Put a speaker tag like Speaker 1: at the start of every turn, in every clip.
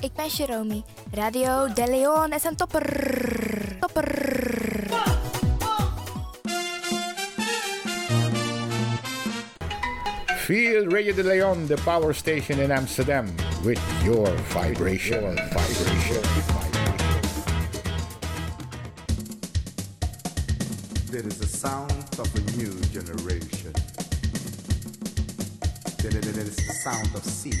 Speaker 1: ik ben Jeromy. Radio De Leon is een topper. Topper.
Speaker 2: Feel Radio de Leon, the power station in Amsterdam, with your vibration. vibration.
Speaker 3: There is a sound of a new generation. There there- there is the sound of sea.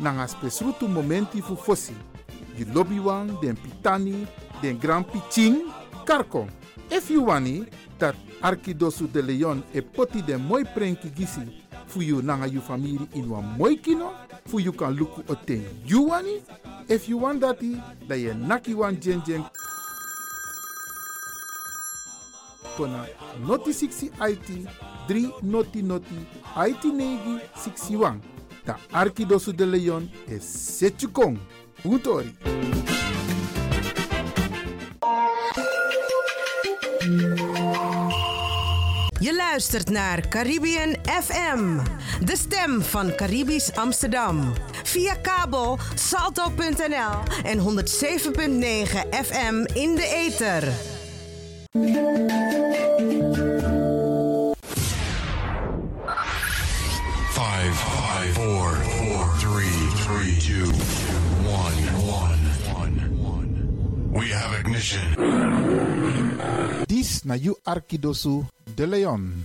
Speaker 4: nanga spesrutu momenti fu fosi. You lobby wan den pitani den grand pitching karko. If you wani dat Arquidosu de Leon e poti den moi prenki gisi fu you nanga you famiri in wan moi kino fu you kan luku oten you wani. If you want dati da ye naki wan jen jen Kona noti 60 IT 3 noti noti IT 9 61. Da Arquidosu de Leon e Setchukong. Utori.
Speaker 5: Je luistert naar Caribbean FM, de stem van Caribisch Amsterdam. Via kabel salto.nl en 107.9 FM in de ether.
Speaker 6: Five, five, four, four, three, three, two, one, one, one, one. We have ignition.
Speaker 4: Dis na you Arquidosu de Leon.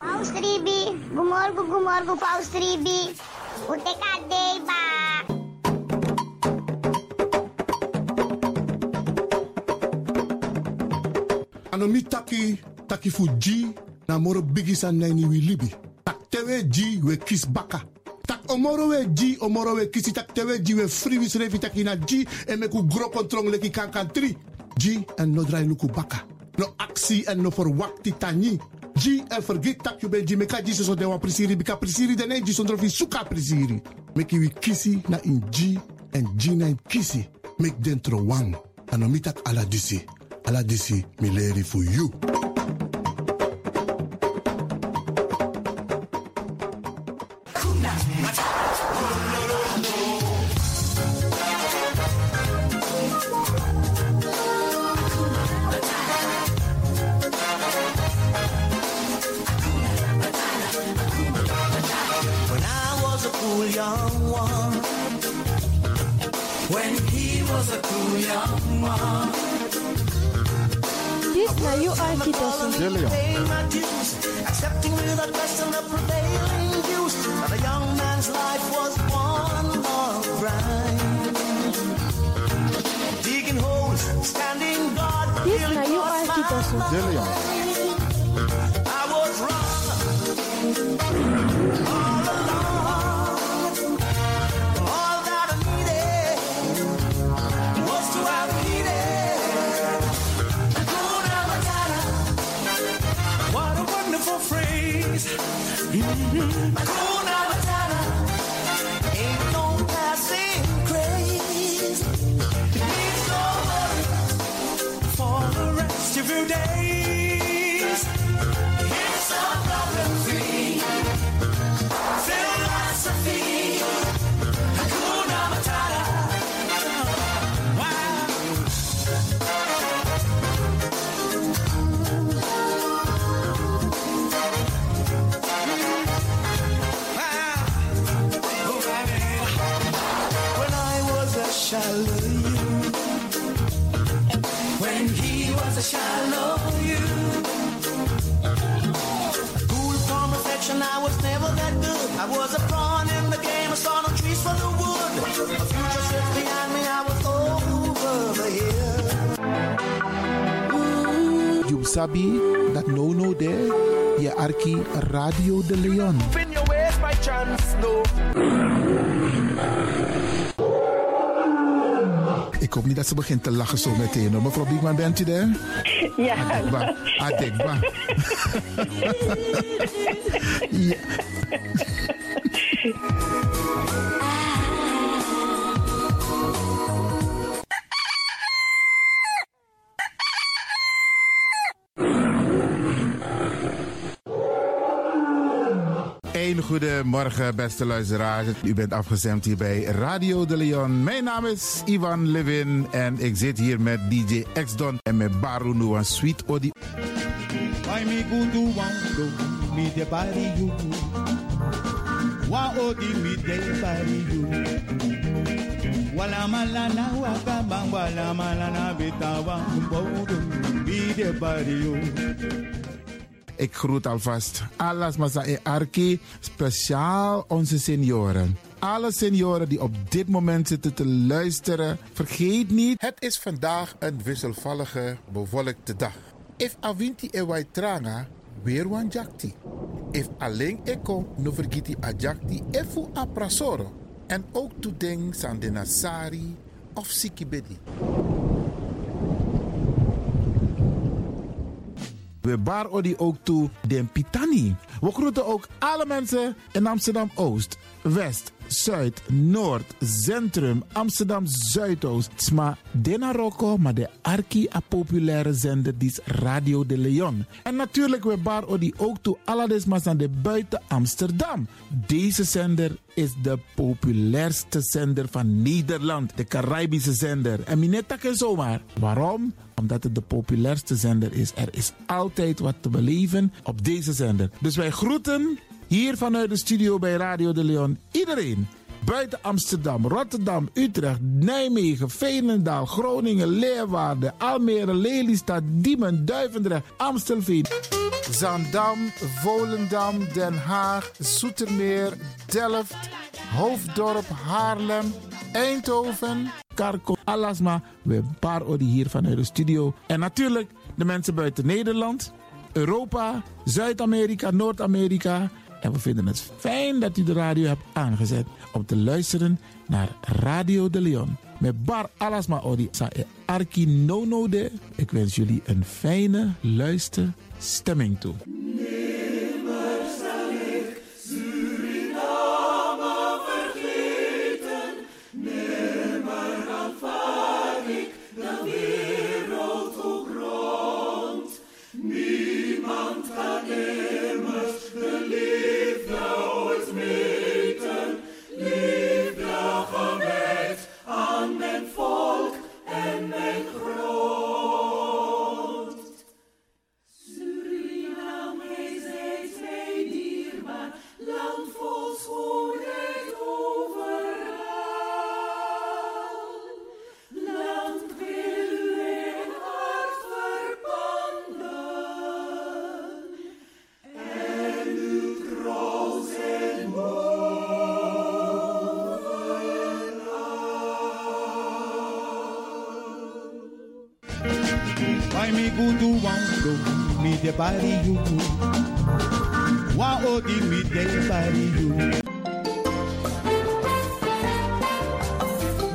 Speaker 7: Paus Ribi, gumorgo, gumorgo, Paus Ribi. O te cadeiba.
Speaker 8: Anomi taki, taki fuji, na moro bigisa neni wi libi. Tak tewe ji we kis baka. Tak omoro we ji, omoro we kisi, tak tewe ji we friwis revi taki na ji, en meku gro kontrong leki kankan tri. Ji en no drai luku baka. No aksi en no forwakti tanyi. Ji en vergeet tak you ben ji meka ji so dewa prisiri, bika prisiri dene ji sondro fi suka prisiri. Meki wi kisi na in ji, en ji na in kisi. Mek dentro wang. Anomi tak ala disi. Ala disi mi leri fu you.
Speaker 9: When I was a cool young one. When he was a cool young one.
Speaker 10: Dit is naar jouw Arkidosu.
Speaker 4: De Leon.
Speaker 9: Paying my dues, accepting without question the prevailing views. But a young man's life was one long grind. Digging holes, standing guard,
Speaker 10: Dit is
Speaker 9: feeling
Speaker 10: naar jouw
Speaker 9: God's
Speaker 10: Arkidosu.
Speaker 4: De Leon.
Speaker 9: I was wrong. All along. All that I needed was to have needed. Hakuna Matata. What a wonderful phrase. Hakuna Matata. Ain't no passing craze. It means no worry for the rest of your days. It's a problem-free philosophy. Hakuna Matata. Wow. Wow. Oh, baby. When I was a Shallow you. When he
Speaker 11: was a shallow you. Cool from affection, I was never that good. I was a pawn in the game, I saw no trees for the wood. A future sits behind me, I was over the hill.
Speaker 12: You sabi that no no there, je arki Radio de Leon.
Speaker 11: Spin your ways by chance, no.
Speaker 12: Ik hoop niet dat ze begint te lachen zo meteen. hoor. Mevrouw Biekman, bent u daar?
Speaker 8: Ja.
Speaker 12: Adekba, Adekba. ja.
Speaker 4: Een goedemorgen, beste luisteraars. U bent afgestemd hier bij Radio de Leon. Mijn naam is Ivan Levin en ik zit hier met DJ X-Don en met Baru Nuan Sweet Odi.
Speaker 13: Why me go do one go me the body you Wa odi me the body you Wala malana wa gamba wala malana bitawa mbodo me the body you
Speaker 4: Ik groet alvast alles masa e arki, speciaal onze senioren. Alle senioren die op dit moment zitten te luisteren, vergeet niet. Het is vandaag een wisselvallige, bewolkte dag. If awinti e wai tranga, weer wan jakti. If alleen eko, no vergiti a jakti efu a prasoro. En ook to ding san de nasari of sikibedi. We baar odi ook toe den Pitani. We groeten ook alle mensen in Amsterdam Oost, West, Zuid, Noord, Centrum, Amsterdam Zuidoost. Sma Dena Rocco, maar de arki a populaire zender die is Radio de Leon. En natuurlijk we baar odi ook toe alles maar aan de buiten Amsterdam. Deze zender is de populairste zender van Nederland, de Caribische zender. En minetta ken zomaar. Waarom? Omdat het de populairste zender is. Er is altijd wat te beleven op deze zender. Dus wij groeten hier vanuit de studio bij Radio de Leon iedereen. Buiten Amsterdam, Rotterdam, Utrecht, Nijmegen, Veenendaal, Groningen, Leeuwarden, Almere, Lelystad, Diemen, Duivendrecht, Amstelveen. Zandam, Volendam, Den Haag, Zoetermeer, Delft, Hoofddorp, Haarlem, Eindhoven, Karko, Alasma. We paar die hier vanuit de studio. En natuurlijk de mensen buiten Nederland, Europa, Zuid-Amerika, Noord-Amerika. En we vinden het fijn dat u de radio hebt aangezet om te luisteren naar Radio de Leon. Met Bar Alasma Odi Sae Arki Nono de. Ik wens jullie een fijne luisterstemming toe.
Speaker 13: Why me go do one go me the body you Wa odi me the body you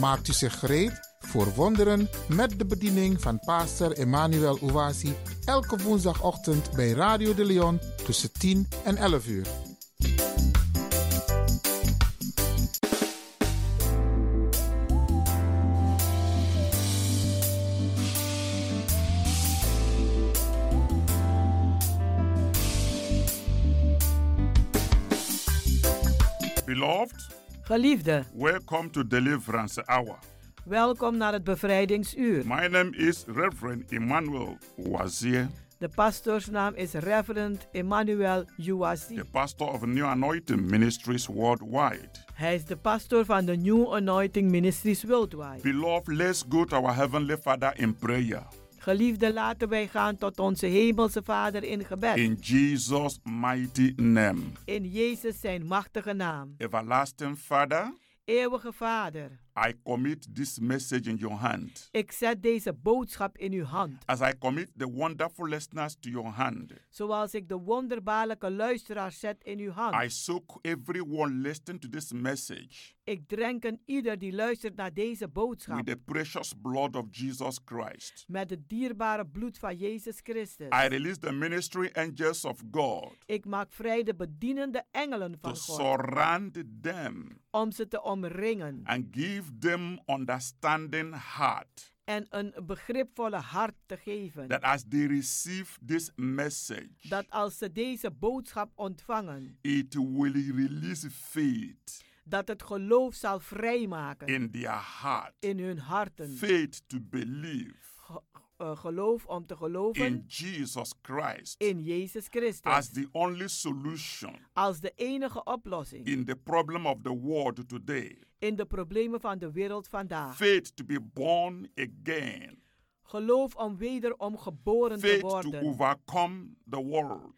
Speaker 4: Maakt u zich gereed voor wonderen met de bediening van pastor Emmanuel Owasi elke woensdagochtend bij Radio de Leon tussen 10 en 11 uur.
Speaker 8: Beloved,
Speaker 9: Geliefde,
Speaker 8: welcome to Deliverance Hour.
Speaker 9: welkom naar het bevrijdingsuur.
Speaker 8: My name is Reverend Emmanuel Wazier,
Speaker 9: De pastoorsnaam is Reverend Emmanuel Uwasi.
Speaker 8: the pastor of New Anointing Ministries Worldwide.
Speaker 9: Hij is de pastoor van de New Anointing Ministries Worldwide.
Speaker 8: Beloved, let's go to our Heavenly Father in prayer.
Speaker 9: Geliefde, laten wij gaan tot onze hemelse Vader in gebed.
Speaker 8: In Jesus' mighty name.
Speaker 9: In Jezus zijn machtige naam.
Speaker 8: Everlasting Father,
Speaker 9: Eeuwige Vader,
Speaker 8: I commit this message in your hand.
Speaker 9: ik zet deze boodschap in uw hand.
Speaker 8: As I commit the wonderful listeners to your hand,
Speaker 9: Zoals ik de wonderbaarlijke luisteraar zet in uw
Speaker 8: I
Speaker 9: hand.
Speaker 8: soak everyone listening to this message
Speaker 9: Ik drenken ieder die luistert naar deze boodschap.
Speaker 8: with the precious blood of Jesus Christ.
Speaker 9: Met het dierbare bloed van Jezus Christus.
Speaker 8: I release the ministry angels of God
Speaker 9: Ik maak vrij de bedienende engelen
Speaker 8: to
Speaker 9: van God.
Speaker 8: surround them
Speaker 9: Om ze te omringen.
Speaker 8: and give them understanding heart
Speaker 9: En een begripvolle hart te geven.
Speaker 8: that as they receive this message,
Speaker 9: Dat als ze deze boodschap ontvangen.
Speaker 8: it will release faith
Speaker 9: Dat het geloof zal vrijmaken.
Speaker 8: in their heart,
Speaker 9: in hun harten.
Speaker 8: faith to believe
Speaker 9: Ge- eh, geloof om te geloven.
Speaker 8: in Jesus Christ
Speaker 9: in Jezus Christus.
Speaker 8: as the only solution
Speaker 9: als de enige oplossing.
Speaker 8: in the problem of the world today.
Speaker 9: in de problemen van de wereld vandaag.
Speaker 8: Faith to be born again,
Speaker 9: Geloof om wederom geboren te
Speaker 8: faith to
Speaker 9: worden.
Speaker 8: overcome the world,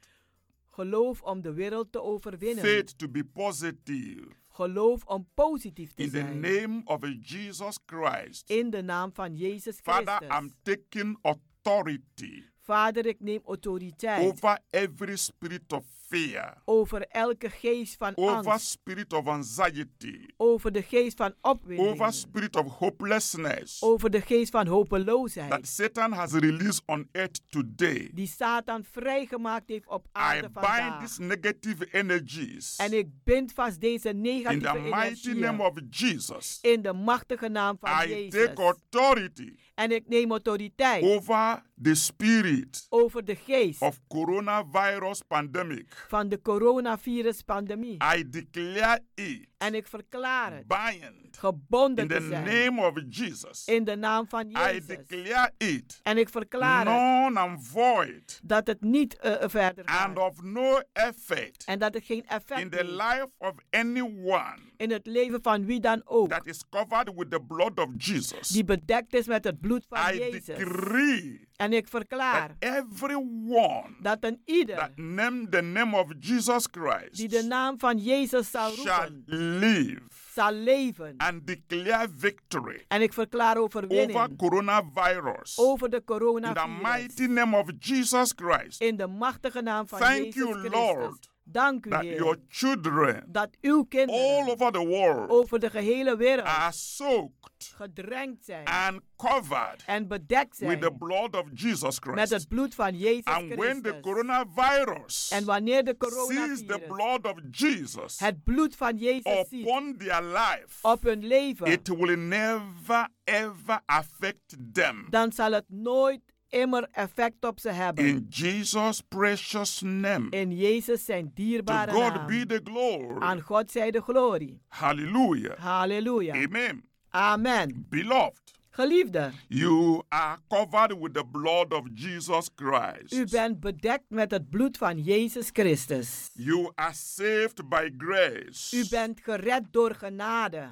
Speaker 9: Geloof om de wereld te overwinnen.
Speaker 8: faith to be positive
Speaker 9: Geloof om positief te
Speaker 8: in the
Speaker 9: zijn.
Speaker 8: name of Jesus Christ.
Speaker 9: in de naam van Jezus
Speaker 8: Father,
Speaker 9: Christus.
Speaker 8: I'm taking authority
Speaker 9: Vader, ik neem autoriteit
Speaker 8: over every spirit of fear,
Speaker 9: over elke geest van
Speaker 8: over
Speaker 9: angst,
Speaker 8: spirit of anxiety,
Speaker 9: over de geest van opwinding,
Speaker 8: over spirit of hopelessness
Speaker 9: over de geest van hopeloosheid,
Speaker 8: that Satan has released on earth today.
Speaker 9: die Satan vrijgemaakt heeft op
Speaker 8: I
Speaker 9: aarde
Speaker 8: bind
Speaker 9: vandaag.
Speaker 8: these negative energies
Speaker 9: En ik bind vast deze
Speaker 8: in
Speaker 9: negatieve
Speaker 8: the mighty name
Speaker 9: energie
Speaker 8: of Jesus.
Speaker 9: in de machtige naam van
Speaker 8: I take
Speaker 9: Jezus.
Speaker 8: authority
Speaker 9: En ik neem autoriteit
Speaker 8: over the spirit
Speaker 9: over de geest
Speaker 8: of coronavirus pandemic.
Speaker 9: van de coronavirus-pandemie.
Speaker 8: I declare it
Speaker 9: En ik verklaar het
Speaker 8: bind in
Speaker 9: gebonden
Speaker 8: the
Speaker 9: te zijn
Speaker 8: name of Jesus.
Speaker 9: in de naam van
Speaker 8: I
Speaker 9: Jezus.
Speaker 8: declare it
Speaker 9: En ik verklaar het
Speaker 8: non and void
Speaker 9: dat het niet eh, eh, verder gaat.
Speaker 8: and of no effect
Speaker 9: en dat het geen
Speaker 8: in
Speaker 9: effect
Speaker 8: the
Speaker 9: heeft
Speaker 8: life of anyone
Speaker 9: in het leven van wie dan ook.
Speaker 8: that is covered with the blood of Jesus.
Speaker 9: die bedekt is met het bloed van
Speaker 8: I
Speaker 9: Jezus.
Speaker 8: decree
Speaker 9: En ik verklaar
Speaker 8: that everyone
Speaker 9: dat een ieder
Speaker 8: that named the name of Jesus Christ
Speaker 9: die de naam van Jezus zal
Speaker 8: shall
Speaker 9: roepen,
Speaker 8: live
Speaker 9: zal leven.
Speaker 8: and declare victory
Speaker 9: En ik verklaar
Speaker 8: over
Speaker 9: overwinning
Speaker 8: coronavirus
Speaker 9: over de
Speaker 8: in the
Speaker 9: coronavirus.
Speaker 8: mighty name of Jesus Christ.
Speaker 9: In de machtige naam van
Speaker 8: Thank
Speaker 9: Jezus
Speaker 8: you,
Speaker 9: Christus.
Speaker 8: Lord,
Speaker 9: Dank u,
Speaker 8: That your
Speaker 9: Heer,
Speaker 8: children
Speaker 9: dat uw kinderen
Speaker 8: all over the world
Speaker 9: over de gehele wereld
Speaker 8: are soaked
Speaker 9: gedrenkt zijn
Speaker 8: and covered
Speaker 9: en bedekt
Speaker 8: with the
Speaker 9: zijn
Speaker 8: blood of Jesus
Speaker 9: met
Speaker 8: Christ.
Speaker 9: het bloed van Jezus
Speaker 8: And when the
Speaker 9: Christus. En
Speaker 8: coronavirus
Speaker 9: wanneer de
Speaker 8: sees the
Speaker 9: coronavirus
Speaker 8: blood of Jesus
Speaker 9: het bloed van Jezus ziet
Speaker 8: upon their life,
Speaker 9: op hun leven,
Speaker 8: it will never ever affect them.
Speaker 9: dan zal het nooit immer effect op ze hebben.
Speaker 8: In Jesus' precious name.
Speaker 9: In Jezus zijn
Speaker 8: To
Speaker 9: dierbare
Speaker 8: God be
Speaker 9: naam.
Speaker 8: the glory.
Speaker 9: Aan God zij de glorie.
Speaker 8: Hallelujah.
Speaker 9: Halleluja.
Speaker 8: Amen.
Speaker 9: Amen.
Speaker 8: Beloved,
Speaker 9: Geliefde,
Speaker 8: you are covered with the blood of Jesus Christ.
Speaker 9: u bent bedekt met het bloed van Jezus Christus.
Speaker 8: You are saved by grace.
Speaker 9: U bent gered door genade.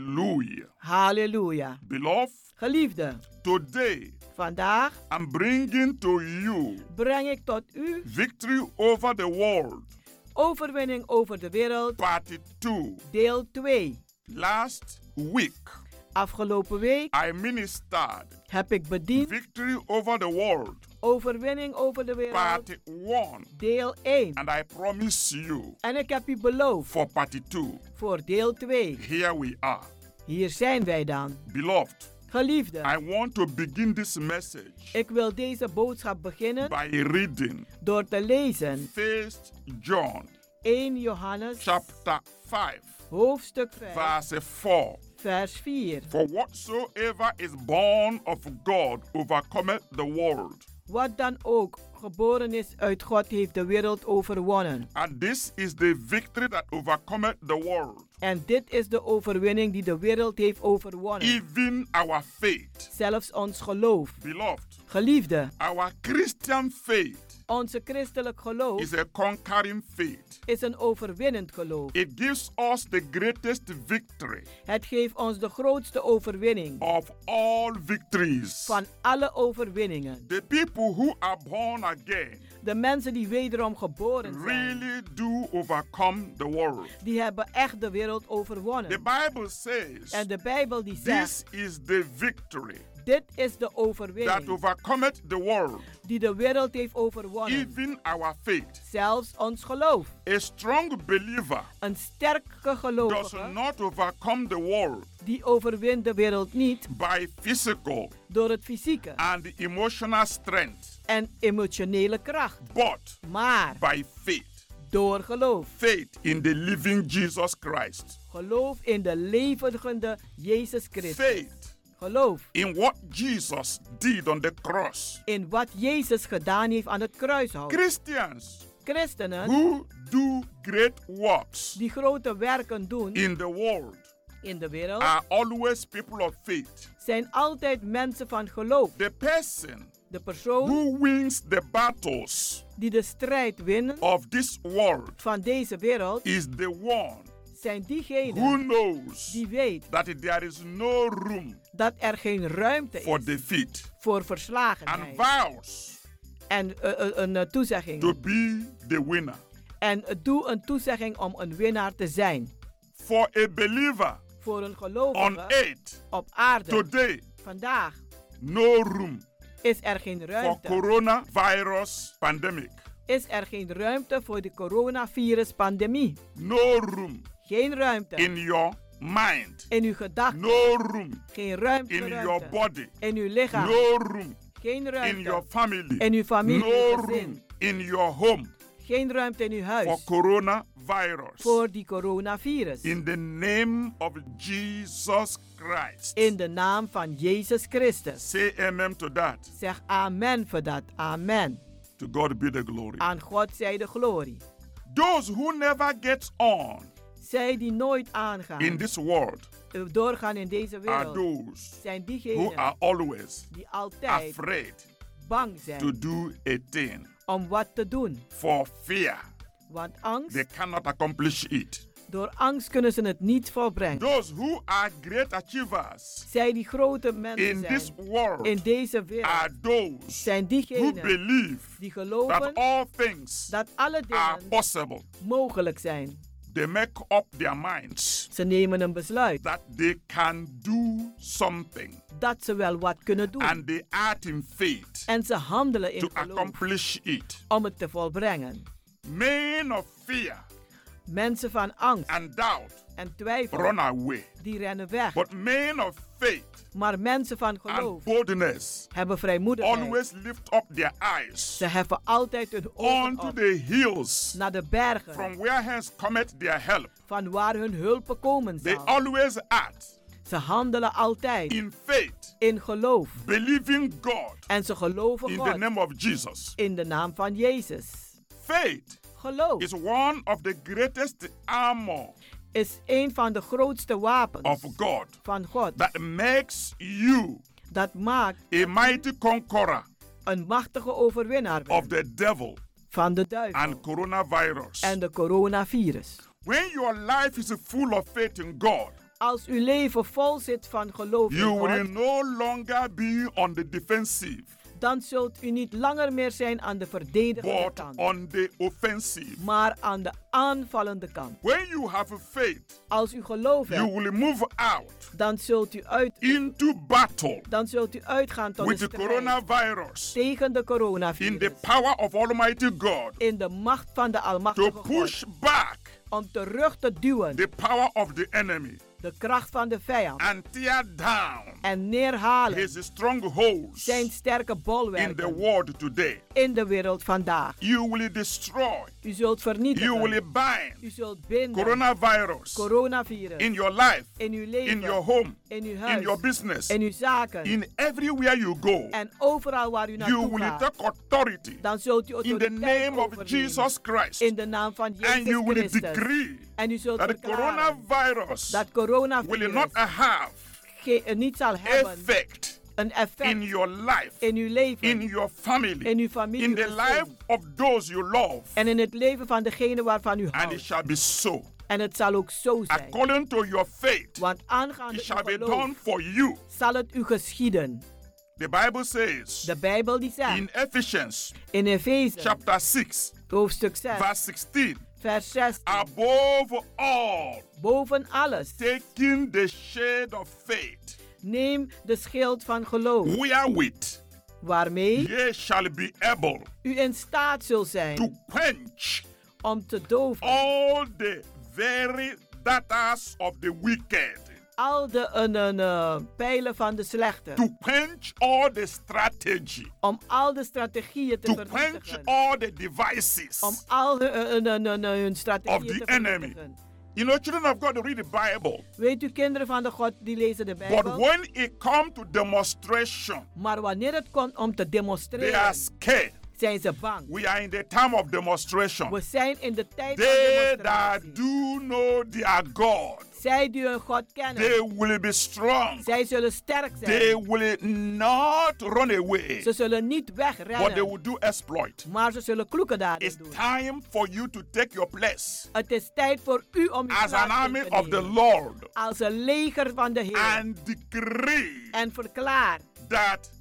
Speaker 8: Hallelujah.
Speaker 9: Halleluja.
Speaker 8: Beloved,
Speaker 9: Geliefde,
Speaker 8: today
Speaker 9: vandaag
Speaker 8: I'm bringing to you
Speaker 9: breng ik tot u
Speaker 8: victory over the world,
Speaker 9: overwinning over de wereld,
Speaker 8: part 2,
Speaker 9: deel 2.
Speaker 4: Last week,
Speaker 9: Afgelopen week
Speaker 4: I ministered
Speaker 9: heb ik bediend
Speaker 4: Victory over the World,
Speaker 9: overwinning over de wereld,
Speaker 4: Part 1,
Speaker 9: deel 1.
Speaker 4: and I promise you
Speaker 9: En ik heb u beloofd
Speaker 4: for Part 2.
Speaker 9: voor deel 2.
Speaker 4: Here we are.
Speaker 9: Hier zijn wij dan.
Speaker 4: Beloved, I
Speaker 9: Geliefde,
Speaker 4: want to begin this message
Speaker 9: ik wil deze boodschap beginnen
Speaker 4: by reading
Speaker 9: door te lezen
Speaker 4: 1 John
Speaker 9: 1 Johannes
Speaker 4: chapter 5,
Speaker 9: hoofdstuk 5
Speaker 4: verse 4.
Speaker 9: vers 4.
Speaker 4: For whatsoever is born of God overcometh the world.
Speaker 9: Wat dan ook geboren is uit God heeft de wereld overwonnen.
Speaker 4: And this is the victory that overcometh the world,
Speaker 9: En dit is de overwinning die de wereld heeft overwonnen.
Speaker 4: even our faith.
Speaker 9: Zelfs ons geloof.
Speaker 4: Beloved,
Speaker 9: Geliefde,
Speaker 4: our Christian faith
Speaker 9: onze christelijk geloof
Speaker 4: is a conquering faith.
Speaker 9: is een overwinnend geloof.
Speaker 4: It gives us the greatest victory
Speaker 9: Het geeft ons de grootste overwinning
Speaker 4: of all victories.
Speaker 9: van alle overwinningen.
Speaker 4: The people who are born again
Speaker 9: De mensen die wederom geboren zijn,
Speaker 4: really do overcome the world.
Speaker 9: die hebben echt de wereld
Speaker 4: The
Speaker 9: overwonnen.
Speaker 4: Bible says
Speaker 9: En de Bijbel die zegt,
Speaker 4: this is the victory
Speaker 9: dit is de
Speaker 4: that
Speaker 9: overwinning
Speaker 4: overcometh the world,
Speaker 9: die de wereld heeft overwonnen.
Speaker 4: even our faith.
Speaker 9: Zelfs ons geloof.
Speaker 4: A strong believer
Speaker 9: Een sterke
Speaker 4: does
Speaker 9: gelovige
Speaker 4: not overcome the world
Speaker 9: die overwint de wereld niet
Speaker 4: by physical
Speaker 9: door het fysieke
Speaker 4: and emotional strength,
Speaker 9: en emotionele kracht,
Speaker 4: but
Speaker 9: maar
Speaker 4: by faith.
Speaker 9: door geloof.
Speaker 4: Faith in the living Jesus Christ.
Speaker 9: Geloof in de levende Jezus Christus.
Speaker 4: Faith
Speaker 9: Geloof
Speaker 4: in what Jesus did on the cross.
Speaker 9: in wat Jezus gedaan heeft aan het kruishout.
Speaker 4: Christians
Speaker 9: Christenen
Speaker 4: who do great works
Speaker 9: die grote werken doen
Speaker 4: in the world
Speaker 9: in de wereld
Speaker 4: are always people of faith.
Speaker 9: zijn altijd mensen van geloof.
Speaker 4: The person
Speaker 9: De persoon
Speaker 4: who wins the battles
Speaker 9: die de strijd winnen
Speaker 4: of this world
Speaker 9: van deze wereld
Speaker 4: is the one
Speaker 9: zijn
Speaker 4: who
Speaker 9: diegenen
Speaker 4: knows
Speaker 9: die weet
Speaker 4: that there is no room
Speaker 9: dat er geen ruimte
Speaker 4: for
Speaker 9: is
Speaker 4: defeat
Speaker 9: voor
Speaker 4: and
Speaker 9: verslagenheid
Speaker 4: vows
Speaker 9: en eh, eh, een eh,
Speaker 4: to
Speaker 9: toezegging.
Speaker 4: be the winner.
Speaker 9: En eh, doe een toezegging om een winnaar te zijn.
Speaker 4: For a believer
Speaker 9: Voor een
Speaker 4: on
Speaker 9: gelovige
Speaker 4: earth
Speaker 9: op aarde
Speaker 4: today,
Speaker 9: vandaag
Speaker 4: no room
Speaker 9: is er geen
Speaker 4: for
Speaker 9: ruimte.
Speaker 4: coronavirus pandemic,
Speaker 9: is er geen ruimte voor de coronavirus-pandemie.
Speaker 4: no room
Speaker 9: Geen ruimte
Speaker 4: in your mind,
Speaker 9: in uw gedachten.
Speaker 4: no room
Speaker 9: Geen ruimte,
Speaker 4: in your
Speaker 9: ruimte.
Speaker 4: body,
Speaker 9: in uw lichaam.
Speaker 4: no room
Speaker 9: Geen
Speaker 4: in your
Speaker 9: ruimte
Speaker 4: family,
Speaker 9: in uw familie.
Speaker 4: no
Speaker 9: uw gezin.
Speaker 4: room in your home
Speaker 9: Geen ruimte in uw
Speaker 4: for
Speaker 9: huis
Speaker 4: coronavirus.
Speaker 9: voor die coronavirus.
Speaker 4: In the name of Jesus Christ.
Speaker 9: In de naam van Jezus Christus.
Speaker 4: Say amen to that.
Speaker 9: Zeg amen voor dat. Amen.
Speaker 4: To God be the glory.
Speaker 9: Aan God zij de glorie.
Speaker 4: Those who never get on
Speaker 9: Zij die nooit aangaan,
Speaker 4: in this world
Speaker 9: eh, doorgaan in deze
Speaker 4: are
Speaker 9: wereld,
Speaker 4: those
Speaker 9: zijn
Speaker 4: who
Speaker 9: diegenen
Speaker 4: are always
Speaker 9: die altijd
Speaker 4: afraid
Speaker 9: bang
Speaker 4: to
Speaker 9: zijn
Speaker 4: do a thing
Speaker 9: om wat te doen.
Speaker 4: for fear
Speaker 9: Want angst
Speaker 4: they cannot accomplish it.
Speaker 9: Door angst kunnen ze het niet volbrengen.
Speaker 4: Those who are great achievers
Speaker 9: Zij die grote mensen
Speaker 4: in this
Speaker 9: zijn
Speaker 4: world
Speaker 9: in deze
Speaker 4: are
Speaker 9: wereld
Speaker 4: those
Speaker 9: zijn
Speaker 4: who
Speaker 9: diegenen
Speaker 4: believe
Speaker 9: die
Speaker 4: that
Speaker 9: geloven
Speaker 4: all things
Speaker 9: dat alle
Speaker 4: are
Speaker 9: dingen
Speaker 4: possible.
Speaker 9: mogelijk zijn.
Speaker 4: They make up their minds
Speaker 9: Ze nemen een besluit
Speaker 4: that they can do something
Speaker 9: dat ze wel wat kunnen doen.
Speaker 4: and they act in faith
Speaker 9: En ze handelen
Speaker 4: to
Speaker 9: in geloof
Speaker 4: accomplish it.
Speaker 9: om het te volbrengen.
Speaker 4: Men of fear
Speaker 9: Mensen van angst
Speaker 4: and doubt
Speaker 9: en twijfel
Speaker 4: run away,
Speaker 9: die rennen weg.
Speaker 4: but men of faith
Speaker 9: Maar mensen van
Speaker 4: and
Speaker 9: geloof
Speaker 4: boldness
Speaker 9: hebben vrijmoedigheid.
Speaker 4: always lift up their eyes
Speaker 9: Ze heffen altijd hun ogen
Speaker 4: onto
Speaker 9: op
Speaker 4: the hills
Speaker 9: naar de bergen
Speaker 4: from where hence cometh their help.
Speaker 9: van waar hun hulp komen
Speaker 4: They
Speaker 9: zal.
Speaker 4: always act
Speaker 9: Ze handelen altijd
Speaker 4: in faith,
Speaker 9: in geloof.
Speaker 4: believing God
Speaker 9: En ze geloven
Speaker 4: in the
Speaker 9: God
Speaker 4: name of Jesus.
Speaker 9: in de naam van Jezus.
Speaker 4: Faith
Speaker 9: Geloof
Speaker 4: is one of the greatest armor
Speaker 9: is een van de grootste wapens
Speaker 4: of God
Speaker 9: van God.
Speaker 4: that makes you
Speaker 9: Dat maakt
Speaker 4: a mighty conqueror
Speaker 9: een machtige overwinnaar
Speaker 4: of
Speaker 9: bent
Speaker 4: the devil
Speaker 9: van de
Speaker 4: and
Speaker 9: duivel en
Speaker 4: coronavirus.
Speaker 9: de coronavirus.
Speaker 4: When your life is full of faith in God,
Speaker 9: Als uw leven vol zit van geloof in
Speaker 4: you will
Speaker 9: Oh God,
Speaker 4: no longer be on the defensive.
Speaker 9: dan zult u niet langer meer zijn aan de verdedigende
Speaker 8: but
Speaker 9: kant,
Speaker 8: on the offensive.
Speaker 9: maar aan de aanvallende kant.
Speaker 8: When you have a faith,
Speaker 9: Als u geloof
Speaker 8: you
Speaker 9: hebt,
Speaker 8: will move out
Speaker 9: dan zult u uit
Speaker 8: into battle
Speaker 9: dan zult u uitgaan tot
Speaker 8: with
Speaker 9: de
Speaker 8: the
Speaker 9: strijd
Speaker 8: coronavirus
Speaker 9: tegen de coronavirus
Speaker 8: in the power of Almighty God
Speaker 9: in de macht van de
Speaker 8: to
Speaker 9: Almachtige
Speaker 8: push
Speaker 9: God
Speaker 8: back
Speaker 9: om terug te duwen
Speaker 8: the power of the enemy
Speaker 9: de kracht van de vijand
Speaker 8: and tear down
Speaker 9: en neerhalen
Speaker 8: his strongholds
Speaker 9: zijn sterke
Speaker 8: in the
Speaker 9: bolwerken
Speaker 8: world today.
Speaker 9: in de wereld vandaag.
Speaker 8: You will destroy,
Speaker 9: U zult vernietigen.
Speaker 8: you will bind
Speaker 9: U zult binden.
Speaker 8: coronavirus
Speaker 9: Coronavirus.
Speaker 8: in your life,
Speaker 9: in uw leven.
Speaker 8: in your home,
Speaker 9: in uw huis.
Speaker 8: in your business,
Speaker 9: in uw zaken.
Speaker 8: in everywhere you go.
Speaker 9: en overal waar u
Speaker 8: You
Speaker 9: naartoe
Speaker 8: will
Speaker 9: gaat.
Speaker 8: take authority
Speaker 9: Dan zult u
Speaker 8: in the
Speaker 9: autoriteit
Speaker 8: name of
Speaker 9: overnemen.
Speaker 8: Jesus Christ
Speaker 9: In de naam van
Speaker 8: and
Speaker 9: Jezus
Speaker 8: you will
Speaker 9: Christus.
Speaker 8: decree
Speaker 9: en u zult
Speaker 8: that the
Speaker 9: verklaren
Speaker 8: coronavirus
Speaker 9: dat coronavirus
Speaker 8: will not have
Speaker 9: ge- eh, niet zal hebben
Speaker 8: effect
Speaker 9: een effect
Speaker 8: in your life,
Speaker 9: in uw leven,
Speaker 8: in your family,
Speaker 9: in uw familie,
Speaker 8: in the
Speaker 9: gezin.
Speaker 8: life of those you love,
Speaker 9: en in het leven van degene waarvan u
Speaker 8: and it
Speaker 9: houdt.
Speaker 8: shall be so.
Speaker 9: En het zal ook zo zijn.
Speaker 8: According to your faith,
Speaker 9: Want aangaande
Speaker 8: it
Speaker 9: uw
Speaker 8: shall be
Speaker 9: geloof
Speaker 8: done for you.
Speaker 9: zal het u geschieden.
Speaker 8: The Bible says
Speaker 9: De Bijbel die zegt
Speaker 8: in Ephesians
Speaker 9: in Efeze
Speaker 8: chapter 6,
Speaker 9: hoofdstuk 6
Speaker 8: verse 16,
Speaker 9: vers 6
Speaker 8: above all,
Speaker 9: boven alles
Speaker 8: taking the shade of faith,
Speaker 9: neem de schild van geloof
Speaker 8: wherewith
Speaker 9: waarmee
Speaker 8: ye shall be able
Speaker 9: u in staat zult zijn
Speaker 8: to quench
Speaker 9: om te doven
Speaker 8: all the very daughters of the wicked,
Speaker 9: al de eh, eh, eh, pijlen van de slechte
Speaker 8: to quench all the strategy,
Speaker 9: om al de strategieën te
Speaker 8: to quench
Speaker 9: vernietigen
Speaker 8: all the devices.
Speaker 9: om al hun, hun, hun, hun, hun
Speaker 8: Of the
Speaker 9: strategieën te
Speaker 8: enemy.
Speaker 9: vernietigen.
Speaker 8: You know, children have got to read the Bible.
Speaker 9: Weet u, kinderen van de God, die lezen de
Speaker 8: But
Speaker 9: Bijbel.
Speaker 8: when it comes to demonstration,
Speaker 9: Maar wanneer het komt om te
Speaker 8: they are
Speaker 9: demonstreren,
Speaker 8: scared.
Speaker 9: zijn ze bang.
Speaker 8: We are in the time of demonstration.
Speaker 9: We zijn in de tijd van
Speaker 8: They that
Speaker 9: demonstratie.
Speaker 8: do know their God,
Speaker 9: Zij die hun God
Speaker 8: they
Speaker 9: kennen,
Speaker 8: will be strong.
Speaker 9: zij zullen sterk
Speaker 8: They
Speaker 9: zijn.
Speaker 8: will not run away,
Speaker 9: Ze zullen niet
Speaker 8: but they
Speaker 9: wegrennen,
Speaker 8: will do exploit.
Speaker 9: maar ze zullen kloeken daarin
Speaker 8: It's
Speaker 9: doen.
Speaker 8: time for you to take your place
Speaker 9: Het is tijd voor u om uw
Speaker 8: as an
Speaker 9: plaats oh, in
Speaker 8: army
Speaker 9: te
Speaker 8: of the
Speaker 9: nemen.
Speaker 8: Lord
Speaker 9: Als een leger van de Heer.
Speaker 8: and decree
Speaker 9: En verklaar
Speaker 8: that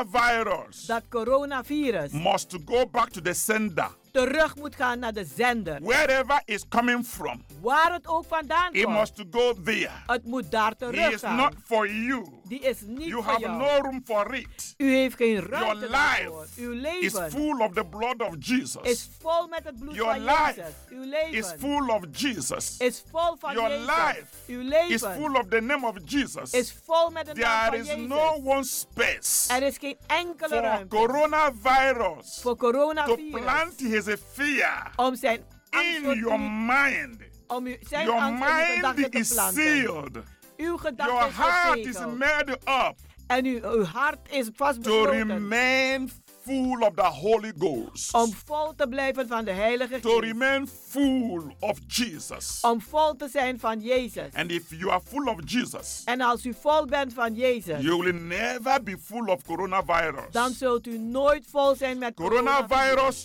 Speaker 8: coronavirus
Speaker 9: dat coronavirus
Speaker 8: must go back to the sender.
Speaker 9: terug moet gaan naar de zender.
Speaker 8: Wherever it's coming from,
Speaker 9: Waar het ook vandaan
Speaker 8: it
Speaker 9: komt.
Speaker 8: must go there.
Speaker 9: Het moet daar
Speaker 8: It
Speaker 9: terug
Speaker 8: is
Speaker 9: gaan.
Speaker 8: not for you.
Speaker 9: Die is niet
Speaker 8: You
Speaker 9: van
Speaker 8: have
Speaker 9: jou.
Speaker 8: no room for it.
Speaker 9: U heeft geen
Speaker 8: Your
Speaker 9: ruimte daarvoor.
Speaker 8: life
Speaker 9: Uw
Speaker 8: is
Speaker 9: leven
Speaker 8: full of the blood of
Speaker 9: is
Speaker 8: Jesus.
Speaker 9: vol met het bloed
Speaker 8: Your
Speaker 9: van
Speaker 8: life
Speaker 9: Jezus. Uw leven
Speaker 8: is full of Jesus.
Speaker 9: is vol van
Speaker 8: Your
Speaker 9: Jezus.
Speaker 8: life
Speaker 9: Uw
Speaker 8: It's
Speaker 9: leven
Speaker 8: full of the name of Jesus.
Speaker 9: is vol met de
Speaker 8: There
Speaker 9: naam van
Speaker 8: is
Speaker 9: Jezus.
Speaker 8: no one space
Speaker 9: er is geen enkele
Speaker 8: for
Speaker 9: ruimte
Speaker 8: coronavirus
Speaker 9: voor
Speaker 8: to
Speaker 9: coronavirus
Speaker 8: plant his fear
Speaker 9: om zijn angst voor
Speaker 8: in your
Speaker 9: u-
Speaker 8: mind.
Speaker 9: om u, zijn
Speaker 8: Your
Speaker 9: angst in uw
Speaker 8: mind
Speaker 9: gedachten
Speaker 8: is
Speaker 9: te planten.
Speaker 8: sealed.
Speaker 9: Uw
Speaker 8: Your
Speaker 9: gedachten
Speaker 8: heart
Speaker 9: is
Speaker 8: is
Speaker 9: verzegeld.
Speaker 8: made up
Speaker 9: en uw, uw hart is
Speaker 8: to
Speaker 9: vastbesloten
Speaker 8: remain full of the Holy Ghost,
Speaker 9: om vol te blijven van de Heilige
Speaker 8: to
Speaker 9: Geest.
Speaker 8: remain full of Jesus.
Speaker 9: Om vol te zijn van Jezus.
Speaker 8: And if you are full of Jesus,
Speaker 9: En als u vol bent van Jezus,
Speaker 8: you will never be full of
Speaker 9: dan
Speaker 8: coronavirus.
Speaker 9: zult u nooit vol zijn met coronavirus.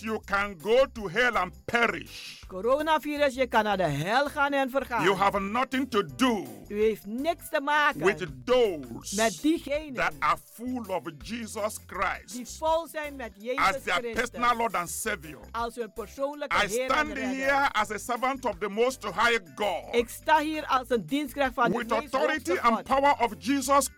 Speaker 8: Coronavirus, you can go to hell and perish.
Speaker 9: Coronavirus, je kan naar de hel gaan en vergaan.
Speaker 8: You have nothing to do
Speaker 9: U heeft niks te maken
Speaker 8: with those
Speaker 9: met diegenen
Speaker 8: that are full of Jesus
Speaker 9: die
Speaker 8: Christ
Speaker 9: vol zijn met
Speaker 8: as
Speaker 9: Jezus
Speaker 8: their personal
Speaker 9: Christus
Speaker 8: Lord and Savior.
Speaker 9: als hun persoonlijke
Speaker 8: I
Speaker 9: Heer en
Speaker 8: stand
Speaker 9: Redder.
Speaker 8: here as a servant of the Most High God
Speaker 9: Ik sta hier als een dienstknecht van de
Speaker 8: with
Speaker 9: meest
Speaker 8: authority
Speaker 9: hoogste
Speaker 8: and
Speaker 9: God,
Speaker 8: power of Jesus
Speaker 9: met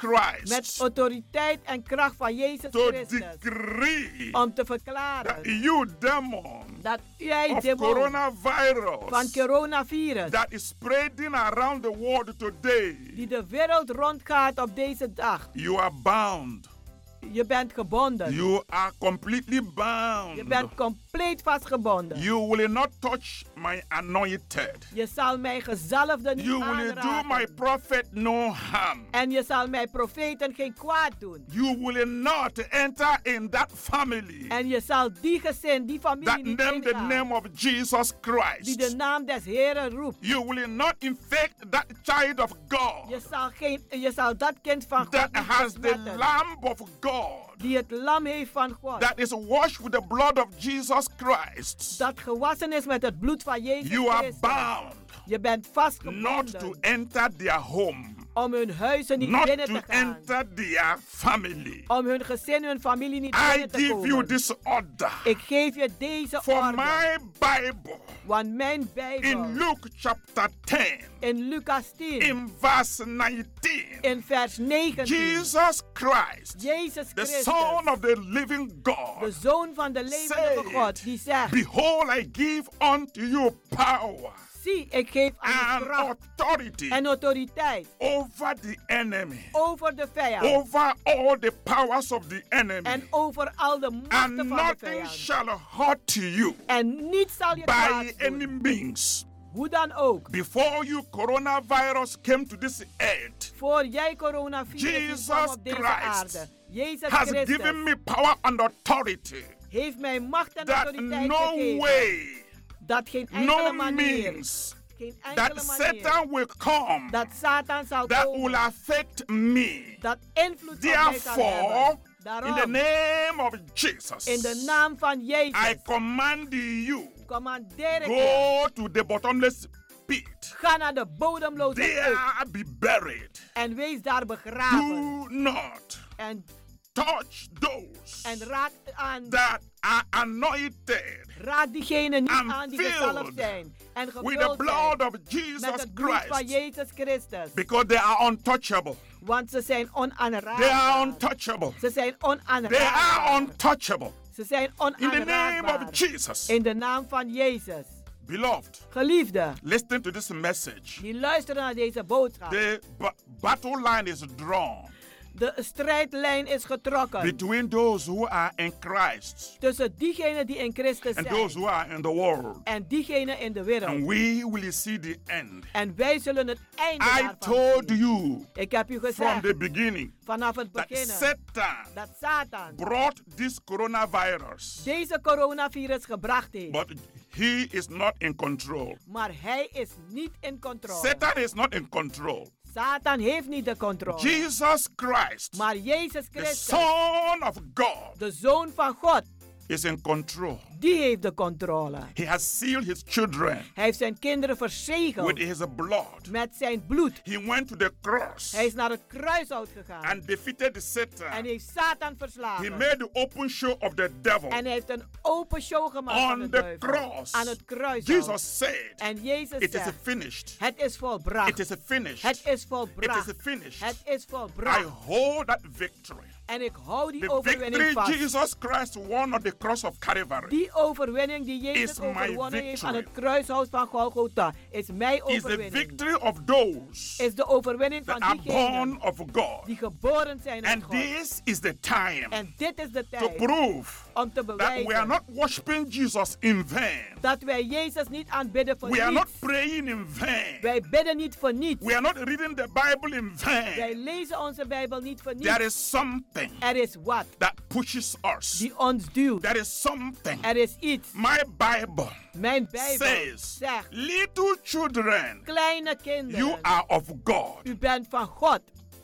Speaker 8: Christ
Speaker 9: autoriteit en kracht van Jezus
Speaker 8: to
Speaker 9: Christus
Speaker 8: decree
Speaker 9: om te
Speaker 8: that
Speaker 9: verklaren
Speaker 8: you, demon
Speaker 9: dat jij
Speaker 8: of
Speaker 9: demon van
Speaker 8: coronavirus,
Speaker 9: coronavirus
Speaker 8: that is spreading around the world today,
Speaker 9: die de wereld rondgaat op deze dag.
Speaker 8: you are bound.
Speaker 9: Je bent gebonden.
Speaker 8: You are completely
Speaker 9: Je
Speaker 8: bound.
Speaker 9: bent compleet vastgebonden.
Speaker 8: You will not touch my anointed.
Speaker 9: Je zal mijn gezalfde niet
Speaker 8: You will do
Speaker 9: aanraken.
Speaker 8: my prophet no harm.
Speaker 9: En je zal mijn profeten geen kwaad doen.
Speaker 8: You will not enter in that family
Speaker 9: En je zal die gezin, die familie
Speaker 8: that
Speaker 9: niet
Speaker 8: name the
Speaker 9: ingaan,
Speaker 8: name of Jesus
Speaker 9: die de
Speaker 8: Christ.
Speaker 9: naam des Heren roept.
Speaker 8: You will not infect that child of
Speaker 9: Je
Speaker 8: God
Speaker 9: zal, geen, je zal dat kind van God
Speaker 8: that
Speaker 9: niet
Speaker 8: has the
Speaker 9: besmetten,
Speaker 8: Lamb of God
Speaker 9: die het lam heeft van God,
Speaker 8: that is washed with the blood of Jesus Christ.
Speaker 9: dat gewassen is met het bloed van Jezus
Speaker 8: You are
Speaker 9: Christus.
Speaker 8: bound.
Speaker 4: Je bent vastgebonden.
Speaker 8: not to enter their home,
Speaker 4: om hun huizen niet
Speaker 8: not
Speaker 4: binnen te
Speaker 8: to
Speaker 4: gaan.
Speaker 8: enter their family.
Speaker 4: Om hun gezin, hun familie niet
Speaker 8: I
Speaker 4: binnen te
Speaker 8: give
Speaker 4: komen.
Speaker 8: you this order.
Speaker 4: Ik geef je deze
Speaker 8: For
Speaker 4: orde.
Speaker 8: my Bible,
Speaker 4: Want mijn Bijbel.
Speaker 8: in Luke chapter 10,
Speaker 4: in Lucas 10.
Speaker 8: in verse 19,
Speaker 4: in vers 19.
Speaker 8: Jesus Christ,
Speaker 4: Jezus
Speaker 8: the
Speaker 4: Christus.
Speaker 8: Son of the living God,
Speaker 4: de zoon van de levende
Speaker 8: said,
Speaker 4: God. Die zegt.
Speaker 8: Behold, I give unto you power
Speaker 4: Zie, ik geef aan je
Speaker 8: and
Speaker 4: kracht
Speaker 8: authority
Speaker 4: en autoriteit
Speaker 8: over the enemy,
Speaker 4: over de vijand.
Speaker 8: over all the powers of the enemy,
Speaker 4: en over al de
Speaker 8: and
Speaker 4: machten van de
Speaker 8: nothing
Speaker 4: vijand.
Speaker 8: shall hurt you
Speaker 4: En niets zal je
Speaker 8: by
Speaker 4: kwaad doen.
Speaker 8: any means.
Speaker 4: Hoe dan ook.
Speaker 8: Before you coronavirus came to this earth,
Speaker 4: Voor jij coronavirus is
Speaker 8: Jesus
Speaker 4: kwam op deze
Speaker 8: Christ
Speaker 4: aarde. Jezus
Speaker 8: has
Speaker 4: Christus
Speaker 8: given me power and authority
Speaker 4: heeft mij macht en
Speaker 8: that
Speaker 4: autoriteit
Speaker 8: no
Speaker 4: gegeven.
Speaker 8: way,
Speaker 4: dat geen enkele
Speaker 8: no
Speaker 4: manier,
Speaker 8: means
Speaker 4: geen enkele
Speaker 8: that
Speaker 4: manier,
Speaker 8: Satan will come
Speaker 4: dat Satan zal
Speaker 8: that
Speaker 4: komen,
Speaker 8: will affect me.
Speaker 4: dat invloed op mij zal
Speaker 8: Therefore,
Speaker 4: hebben.
Speaker 8: in the
Speaker 4: Daarom,
Speaker 8: name of Jesus,
Speaker 4: in de naam van Jezus,
Speaker 8: I command you
Speaker 4: commandeer ik je,
Speaker 8: go to the bottomless pit.
Speaker 4: ga naar de bodemloze
Speaker 8: There
Speaker 4: put
Speaker 8: be buried.
Speaker 4: en wees daar begraven.
Speaker 8: Do not
Speaker 4: En,
Speaker 8: touch those
Speaker 4: en raak aan,
Speaker 8: that are anointed
Speaker 4: raak diegenen niet
Speaker 8: I'm
Speaker 4: aan die
Speaker 8: filled
Speaker 4: gezalfd zijn en
Speaker 8: with the
Speaker 4: gevuld
Speaker 8: blood
Speaker 4: zijn
Speaker 8: of
Speaker 4: met
Speaker 8: Jesus
Speaker 4: het bloed van
Speaker 8: Christ
Speaker 4: Jezus Christus.
Speaker 8: because they are untouchable.
Speaker 4: Want ze zijn
Speaker 8: They are
Speaker 4: onaanraakbaar.
Speaker 8: untouchable.
Speaker 4: Ze zijn
Speaker 8: They
Speaker 4: onaanraakbaar.
Speaker 8: are untouchable.
Speaker 4: Ze zijn
Speaker 8: In the name of
Speaker 4: onaanraakbaar.
Speaker 8: Jesus,
Speaker 4: In de naam van Jezus.
Speaker 8: beloved,
Speaker 4: Geliefde,
Speaker 8: listen to this message.
Speaker 4: die luisteren naar deze boodschap.
Speaker 8: The ba- battle line is drawn
Speaker 4: De strijdlijn is getrokken
Speaker 8: between those who are in Christ
Speaker 4: tussen diegenen die in Christus
Speaker 8: and those
Speaker 4: zijn
Speaker 8: who are in the world.
Speaker 4: en diegenen in de
Speaker 8: And
Speaker 4: wereld.
Speaker 8: we will see the end.
Speaker 4: En wij zullen het einde
Speaker 8: I
Speaker 4: daarvan
Speaker 8: told you
Speaker 4: Ik heb u
Speaker 8: from
Speaker 4: gezegd
Speaker 8: the beginning
Speaker 4: vanaf het
Speaker 8: that
Speaker 4: begin
Speaker 8: Satan
Speaker 4: dat Satan
Speaker 8: brought this coronavirus,
Speaker 4: deze coronavirus gebracht heeft.
Speaker 8: but he is not in control.
Speaker 4: Maar hij is niet in controle.
Speaker 8: Satan is not in control.
Speaker 4: Satan heeft niet de controle.
Speaker 8: Jesus Christ,
Speaker 4: Maar Jezus
Speaker 8: the
Speaker 4: Christus,
Speaker 8: Son of God,
Speaker 4: de Zoon van God,
Speaker 8: is in control.
Speaker 4: die heeft de controle.
Speaker 8: He has sealed his children
Speaker 4: Hij heeft zijn kinderen
Speaker 8: with
Speaker 4: verzegeld
Speaker 8: his blood.
Speaker 4: met zijn bloed.
Speaker 8: He went to the cross
Speaker 4: Hij is naar het kruishout gegaan
Speaker 8: and defeated
Speaker 4: en
Speaker 8: Satan.
Speaker 4: heeft Satan
Speaker 8: He
Speaker 4: verslagen.
Speaker 8: made the open show of the devil.
Speaker 4: En hij heeft een open show gemaakt van de
Speaker 8: On the
Speaker 4: duivel
Speaker 8: cross,
Speaker 4: aan het
Speaker 8: Jesus
Speaker 4: kruishout.
Speaker 8: said,
Speaker 4: En Jezus
Speaker 8: It is
Speaker 4: zegt,
Speaker 8: finished.
Speaker 4: het is
Speaker 8: It
Speaker 4: volbracht.
Speaker 8: is finished.
Speaker 4: Het is
Speaker 8: It is
Speaker 4: volbracht.
Speaker 8: finished.
Speaker 4: Het is
Speaker 8: I
Speaker 4: volbracht.
Speaker 8: hold that victory.
Speaker 4: En ik hou die
Speaker 8: The
Speaker 4: overwinning
Speaker 8: victory
Speaker 4: vast.
Speaker 8: Jesus Christ won on the cross of Calvary
Speaker 4: Die overwinning die
Speaker 8: is
Speaker 4: Jezus
Speaker 8: my
Speaker 4: overwonnen heeft aan het
Speaker 8: victory.
Speaker 4: kruishout van Golgotha, is mijn
Speaker 8: is the
Speaker 4: overwinning.
Speaker 8: victory of those
Speaker 4: Is de overwinning
Speaker 8: that
Speaker 4: van
Speaker 8: are
Speaker 4: diegenen
Speaker 8: born of God.
Speaker 4: die geboren zijn uit
Speaker 8: And
Speaker 4: God.
Speaker 8: this is the time
Speaker 4: En dit is de
Speaker 8: to
Speaker 4: tijd
Speaker 8: prove
Speaker 4: om te
Speaker 8: that we are
Speaker 4: bewijzen
Speaker 8: not worshiping Jesus in vain.
Speaker 4: dat wij Jezus niet aanbidden voor
Speaker 8: We are not
Speaker 4: niets.
Speaker 8: praying in vain.
Speaker 4: Wij bidden niet voor niets.
Speaker 8: We are not reading the Bible in
Speaker 4: Wij
Speaker 8: vain.
Speaker 4: lezen onze Bijbel niet voor
Speaker 8: There
Speaker 4: niets.
Speaker 8: is something
Speaker 4: Er is wat
Speaker 8: that pushes us.
Speaker 4: die ons duwt.
Speaker 8: There is something.
Speaker 4: Er is iets.
Speaker 8: My Bible
Speaker 4: Mijn Bijbel
Speaker 8: says,
Speaker 4: zegt,
Speaker 8: little children,
Speaker 4: kleine
Speaker 8: you
Speaker 4: kinderen,
Speaker 8: are of God.
Speaker 4: u bent van God.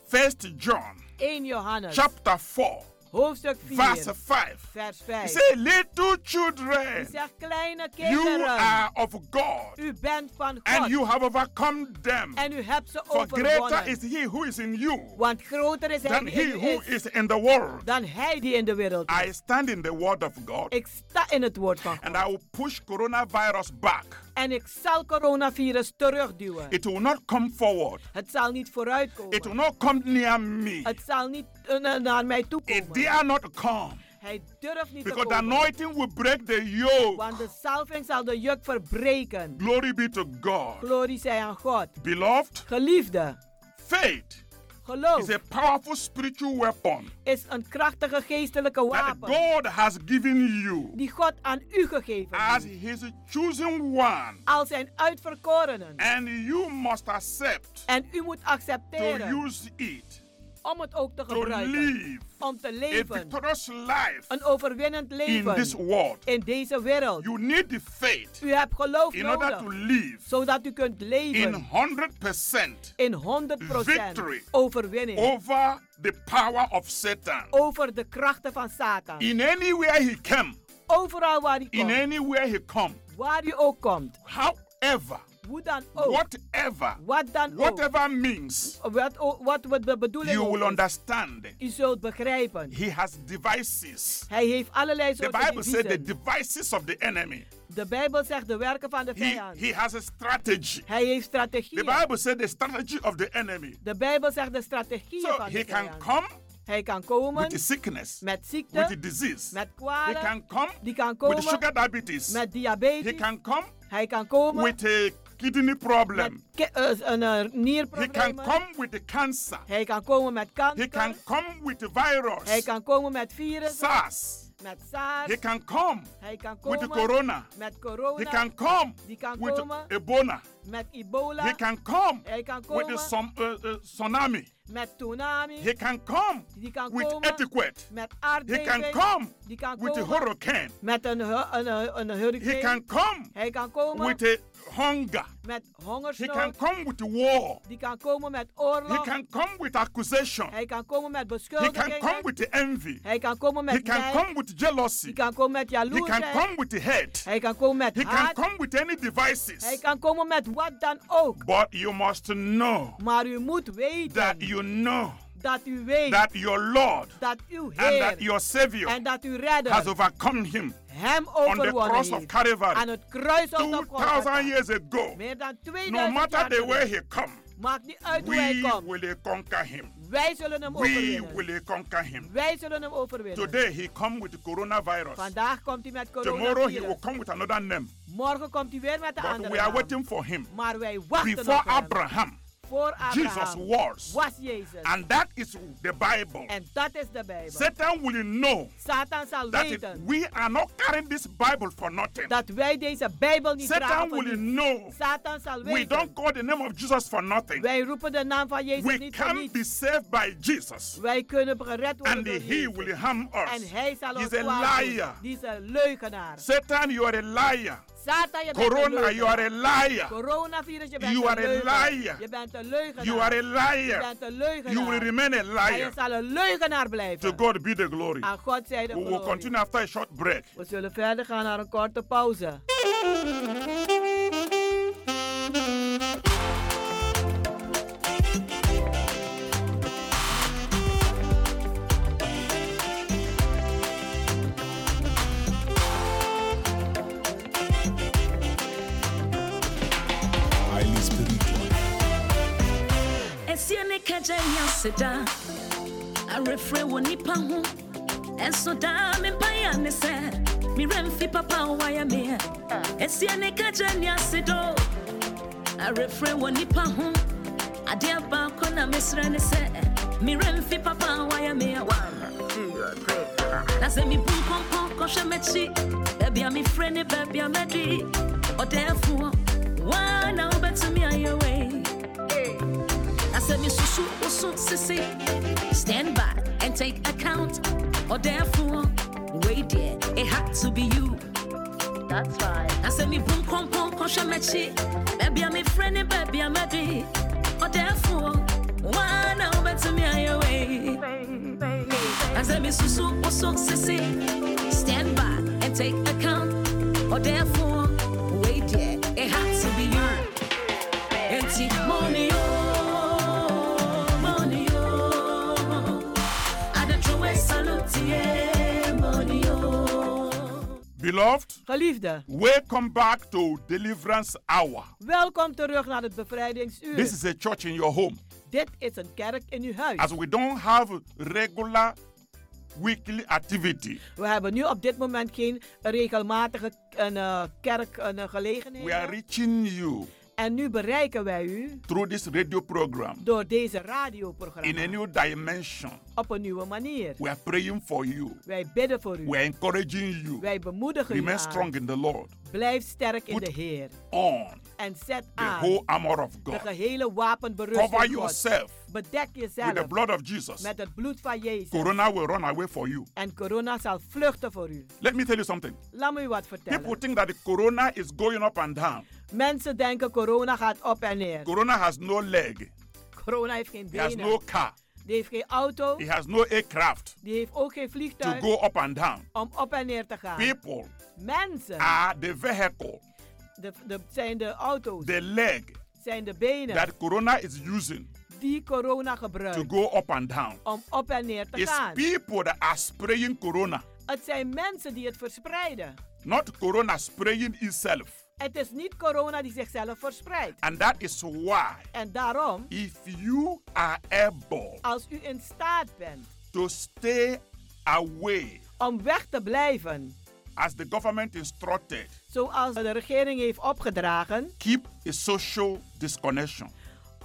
Speaker 8: First John
Speaker 4: 1 Johannes,
Speaker 8: chapter 4,
Speaker 4: hoofdstuk 4,
Speaker 8: verse 5.
Speaker 4: vers
Speaker 8: He
Speaker 4: 5.
Speaker 8: said, little
Speaker 4: U
Speaker 8: children,
Speaker 4: zegt, kleine
Speaker 8: you
Speaker 4: kinderen,
Speaker 8: are of God,
Speaker 4: u bent van
Speaker 8: and you
Speaker 4: God.
Speaker 8: have overcome them.
Speaker 4: En u hebt ze
Speaker 8: For greater
Speaker 4: overwonnen.
Speaker 8: is he who is in you
Speaker 4: Want groter is hij
Speaker 8: than
Speaker 4: die
Speaker 8: he
Speaker 4: in u
Speaker 8: who
Speaker 4: is
Speaker 8: is in the world.
Speaker 4: dan hij die in de wereld is.
Speaker 8: I stand in the word of God,
Speaker 4: Ik sta in het woord van God.
Speaker 8: and I will push coronavirus back.
Speaker 4: En ik zal coronavirus terugduwen.
Speaker 8: It will not come forward.
Speaker 4: Het zal niet vooruitkomen.
Speaker 8: It will not come near me.
Speaker 4: Het zal niet eh, na- naar mij toe
Speaker 8: It
Speaker 4: komen.
Speaker 8: dare not come.
Speaker 4: Hij durft niet te
Speaker 8: Because the
Speaker 4: komen.
Speaker 8: anointing will break the yoke.
Speaker 4: Want de salving zal de juk verbreken.
Speaker 8: Glory be to God.
Speaker 4: Glorie zij aan God.
Speaker 8: Beloved,
Speaker 4: Geliefde,
Speaker 8: faith
Speaker 4: geloof
Speaker 8: is a powerful spiritual weapon
Speaker 4: is een krachtige geestelijke
Speaker 8: that
Speaker 4: wapen
Speaker 8: God has given you
Speaker 4: die God aan u gegeven
Speaker 8: as
Speaker 4: heeft.
Speaker 8: His chosen one.
Speaker 4: Al zijn uitverkorenen.
Speaker 8: And you must accept
Speaker 4: En u moet
Speaker 8: to
Speaker 4: accepteren
Speaker 8: use it
Speaker 4: om het ook te
Speaker 8: to
Speaker 4: gebruiken.
Speaker 8: live
Speaker 4: Om te
Speaker 8: a
Speaker 4: leven.
Speaker 8: victorious life
Speaker 4: Een overwinnend
Speaker 8: in this
Speaker 4: leven
Speaker 8: world.
Speaker 4: in deze wereld.
Speaker 8: You need the faith
Speaker 4: U hebt geloof
Speaker 8: in order to
Speaker 4: nodig,
Speaker 8: live
Speaker 4: zodat u kunt
Speaker 8: in
Speaker 4: leven
Speaker 8: 100%
Speaker 4: in 100%
Speaker 8: victory
Speaker 4: overwinning
Speaker 8: over the power of Satan.
Speaker 4: over de krachten van Satan.
Speaker 8: In anywhere he came,
Speaker 4: Overal waar u
Speaker 8: in
Speaker 4: komt,
Speaker 8: anywhere he come.
Speaker 4: waar u ook komt.
Speaker 8: However,
Speaker 9: Hoe dan
Speaker 4: Oh.
Speaker 9: ook.
Speaker 8: Whatever.
Speaker 9: Wat dan
Speaker 8: Whatever
Speaker 9: ook.
Speaker 8: means.
Speaker 9: Wat, o- wat we- de bedoeling
Speaker 8: You
Speaker 9: ook
Speaker 8: will
Speaker 9: is.
Speaker 8: understand.
Speaker 9: U zult begrijpen.
Speaker 8: He has devices.
Speaker 9: Hij heeft allerlei
Speaker 8: The
Speaker 9: soorten
Speaker 8: Bible said the
Speaker 9: deviezen.
Speaker 8: devices of the enemy.
Speaker 9: De Bijbel zegt de werken van de
Speaker 8: He,
Speaker 9: vijand.
Speaker 8: he has a strategy.
Speaker 9: Hij heeft strategieën.
Speaker 8: The Bible said the strategy of the enemy.
Speaker 9: De Bijbel zegt de strategieën
Speaker 8: So
Speaker 9: van
Speaker 8: he
Speaker 9: de
Speaker 8: can
Speaker 9: vijand.
Speaker 8: come
Speaker 9: Hij kan komen
Speaker 8: with the sickness,
Speaker 9: met ziekte,
Speaker 8: with the disease.
Speaker 9: met
Speaker 8: He
Speaker 9: kwalen.
Speaker 8: can come
Speaker 9: die kan
Speaker 8: with
Speaker 9: komen
Speaker 8: sugar diabetes.
Speaker 9: met diabetes.
Speaker 8: He can come
Speaker 9: Hij kan komen
Speaker 8: with a kidney problem.
Speaker 9: ke- eh, een eh,
Speaker 8: He can
Speaker 9: nierproblemen.
Speaker 8: come with the cancer.
Speaker 9: Hij kan komen met kanker.
Speaker 8: He can come with the virus.
Speaker 9: Hij kan komen met virussen.
Speaker 8: SARS.
Speaker 9: Met SARS.
Speaker 8: He can come
Speaker 9: Hij kan
Speaker 8: with the
Speaker 9: komen
Speaker 8: corona.
Speaker 9: met corona.
Speaker 8: He can come
Speaker 9: Die kan
Speaker 8: with
Speaker 9: komen
Speaker 8: Ebola.
Speaker 9: met ebola.
Speaker 8: He can come
Speaker 9: Hij kan
Speaker 8: with the
Speaker 9: komen
Speaker 8: some, uh, uh, tsunami.
Speaker 9: met tsunami.
Speaker 8: He can come
Speaker 9: Die kan
Speaker 8: with
Speaker 9: komen
Speaker 8: earthquake.
Speaker 9: met
Speaker 8: He
Speaker 9: aardbeving.
Speaker 8: can come
Speaker 9: Die kan
Speaker 8: with a
Speaker 9: komen
Speaker 8: hurricane.
Speaker 9: met een, hu- een, hu- een hurricane.
Speaker 8: He can come
Speaker 9: Hij kan komen
Speaker 8: with a hunger.
Speaker 9: met
Speaker 8: He
Speaker 9: hongersnood.
Speaker 8: can come with war.
Speaker 9: Die kan komen met oorlog.
Speaker 8: He can come with accusation.
Speaker 9: Hij kan komen met
Speaker 8: He can
Speaker 9: beschuldigingen.
Speaker 8: come with envy.
Speaker 9: Hij kan komen met
Speaker 8: He can
Speaker 9: nijd.
Speaker 8: come with jealousy.
Speaker 9: Die kan komen met
Speaker 8: He can
Speaker 9: jaloersheid.
Speaker 8: come with hate.
Speaker 9: Hij kan komen met
Speaker 8: He can
Speaker 9: haat.
Speaker 8: come with any devices.
Speaker 9: Hij kan komen met wat dan ook.
Speaker 8: But you must know
Speaker 9: Maar u moet weten
Speaker 8: that you know
Speaker 9: dat u weet
Speaker 8: that your Lord
Speaker 9: dat uw
Speaker 8: and
Speaker 9: Heer
Speaker 8: that your Savior
Speaker 9: en dat uw Redder
Speaker 8: has overcome him
Speaker 9: hem
Speaker 8: on the
Speaker 9: overwonnen
Speaker 8: cross of
Speaker 9: heeft. Aan
Speaker 8: Calvary.
Speaker 9: het kruis op de Golgotha.
Speaker 8: 2,000 years ago,
Speaker 9: Meer dan
Speaker 8: no
Speaker 9: 2000
Speaker 8: matter
Speaker 9: jaar
Speaker 8: the way
Speaker 9: terug.
Speaker 8: he come,
Speaker 9: Maakt niet uit hoe hij
Speaker 8: we
Speaker 9: komt.
Speaker 8: will conquer him.
Speaker 9: Wij zullen hem
Speaker 8: We
Speaker 9: overwinnen.
Speaker 8: will conquer him.
Speaker 9: Wij zullen hem overwinnen.
Speaker 8: Today he come with coronavirus.
Speaker 9: Vandaag komt hij met
Speaker 8: Tomorrow he will
Speaker 9: coronavirus.
Speaker 8: come with another name.
Speaker 9: Morgen komt hij weer met een
Speaker 8: But
Speaker 9: andere
Speaker 8: we are
Speaker 9: naam.
Speaker 8: waiting for him.
Speaker 9: Maar wij wachten
Speaker 8: Before
Speaker 9: op hem.
Speaker 8: Abraham,
Speaker 9: Voor Abraham
Speaker 8: Jesus was.
Speaker 9: was Jezus.
Speaker 8: and that is the Bible.
Speaker 9: en dat is de Bijbel.
Speaker 8: Satan will know
Speaker 9: Satan zal
Speaker 8: that it-
Speaker 9: weten
Speaker 8: we are not carrying this Bible for nothing.
Speaker 9: dat wij deze Bijbel niet dragen
Speaker 8: Satan
Speaker 9: voor
Speaker 8: will
Speaker 9: niets.
Speaker 8: know
Speaker 9: Satan zal
Speaker 8: we
Speaker 9: weten.
Speaker 8: don't call the name of Jesus for nothing.
Speaker 9: Wij roepen de naam van Jezus
Speaker 8: We
Speaker 9: niet voor
Speaker 8: can
Speaker 9: niets.
Speaker 8: be saved by Jesus,
Speaker 9: Wij kunnen gered worden
Speaker 8: and
Speaker 9: door
Speaker 8: he
Speaker 9: Jezus.
Speaker 8: will harm us.
Speaker 9: En hij zal
Speaker 8: He's
Speaker 9: ons
Speaker 8: a
Speaker 9: kwaad doen.
Speaker 8: liar.
Speaker 9: Die is een leugenaar.
Speaker 8: Satan, you are a liar.
Speaker 9: Satan, je bent een
Speaker 8: Corona,
Speaker 9: leugenaar.
Speaker 8: you are a liar.
Speaker 9: Coronavirus, je bent
Speaker 8: You
Speaker 9: een
Speaker 8: are a
Speaker 9: leugenaar.
Speaker 8: liar.
Speaker 9: Je bent een leugenaar.
Speaker 8: You are a
Speaker 9: Je
Speaker 8: liar.
Speaker 9: bent een leugenaar.
Speaker 8: You will remain a
Speaker 9: En je
Speaker 8: liar.
Speaker 9: zal een leugenaar blijven.
Speaker 8: To God be the glory.
Speaker 9: Aan God zij de
Speaker 8: We will
Speaker 9: glorie.
Speaker 8: continue after a short break.
Speaker 9: We zullen verder gaan naar een korte pauze.
Speaker 14: Highly spiritual.
Speaker 7: ɛsiɛ ne kagya yi ase daa awerɛfrɛ wɔ nnipa ho ɛnso daa mempaeɛ ne sɛ merɛ mfi papa a wayɛ meɛ ɛsiɛ ne kagya ni ase do awerɛfrɛ wɔ nnipa ho adeɛ baako na mesrɛ ne sɛ merɛ mfi papa a wayɛ meɛ na sɛ mebu nkɔnkɔn kɔhwɛ m'akyi baabi a mefrɛ ne baabi a madi ɔdɛɛfoɔ waa na wobɛtumi ayɛ wei I said, me susu usu sisi. Stand by and take account. Or therefore, wait there. It had to be you. That's right. I said, me boom kom kom kosha mechi. Baby, I'm a friend, and baby, I'm a D. Or therefore, one over to me away. I said, me susu usu sisi. Stand by and take account. Or therefore, wait there. It had to be you. Enti money oh, money oh. Adatrowe salute yeah, money oh.
Speaker 8: Beloved,
Speaker 9: Geliefde,
Speaker 8: welcome back to Deliverance Hour.
Speaker 9: welkom terug naar het bevrijdingsuur.
Speaker 8: This is a church in your home.
Speaker 9: Dit is een kerk in uw huis.
Speaker 8: As we don't have regular weekly activity,
Speaker 9: We hebben nu op dit moment geen regelmatige een, eh, kerk een, eh,
Speaker 8: we are
Speaker 9: gelegenheden.
Speaker 8: reaching you
Speaker 9: En nu bereiken wij u
Speaker 8: through this radio program
Speaker 9: door deze
Speaker 8: in a
Speaker 9: radioprogramma
Speaker 8: new dimension.
Speaker 9: op een nieuwe manier.
Speaker 8: We are praying for you.
Speaker 9: Wij bidden voor u.
Speaker 8: We are encouraging you.
Speaker 9: Wij bemoedigen u
Speaker 8: Remain
Speaker 9: aan.
Speaker 8: strong in the Lord.
Speaker 9: Blijf sterk in de Heer.
Speaker 8: On
Speaker 9: En zet
Speaker 8: the
Speaker 9: aan
Speaker 8: whole armor of
Speaker 9: de
Speaker 8: God.
Speaker 9: gehele wapenberusting
Speaker 8: Cover
Speaker 9: God.
Speaker 8: yourself
Speaker 9: Bedek
Speaker 8: with the
Speaker 9: jezelf
Speaker 8: blood of Jesus.
Speaker 9: met het bloed van Jezus.
Speaker 8: Corona will run away for you.
Speaker 9: En corona zal vluchten voor u.
Speaker 8: Let me tell you something.
Speaker 9: Laat me u wat vertellen.
Speaker 8: People think that the corona is going up and down.
Speaker 9: Mensen denken corona gaat op en neer.
Speaker 8: Corona has no leg.
Speaker 9: Corona heeft geen
Speaker 8: He has
Speaker 9: benen.
Speaker 8: no car.
Speaker 9: Die heeft geen auto.
Speaker 8: He has no aircraft
Speaker 9: Die heeft ook geen
Speaker 8: to
Speaker 9: vliegtuig
Speaker 8: go up and down.
Speaker 9: om op en neer te gaan.
Speaker 8: People
Speaker 9: Mensen
Speaker 8: are the vehicle
Speaker 9: de, de, zijn de auto's.
Speaker 8: the leg
Speaker 9: zijn de benen
Speaker 8: that corona is using
Speaker 9: die corona
Speaker 8: to
Speaker 9: gebruikt
Speaker 8: go up and down.
Speaker 9: om op en neer te
Speaker 8: It's
Speaker 9: gaan.
Speaker 8: people that are spraying corona,
Speaker 9: Het zijn mensen die het verspreiden.
Speaker 8: not corona spraying itself.
Speaker 9: Het is niet corona die zichzelf verspreidt.
Speaker 8: And that is why,
Speaker 9: En daarom,
Speaker 8: if you are able
Speaker 9: als u in staat bent
Speaker 8: to stay away,
Speaker 9: om weg te blijven,
Speaker 8: as the government instructed,
Speaker 9: zoals de regering heeft opgedragen,
Speaker 8: keep a social disconnection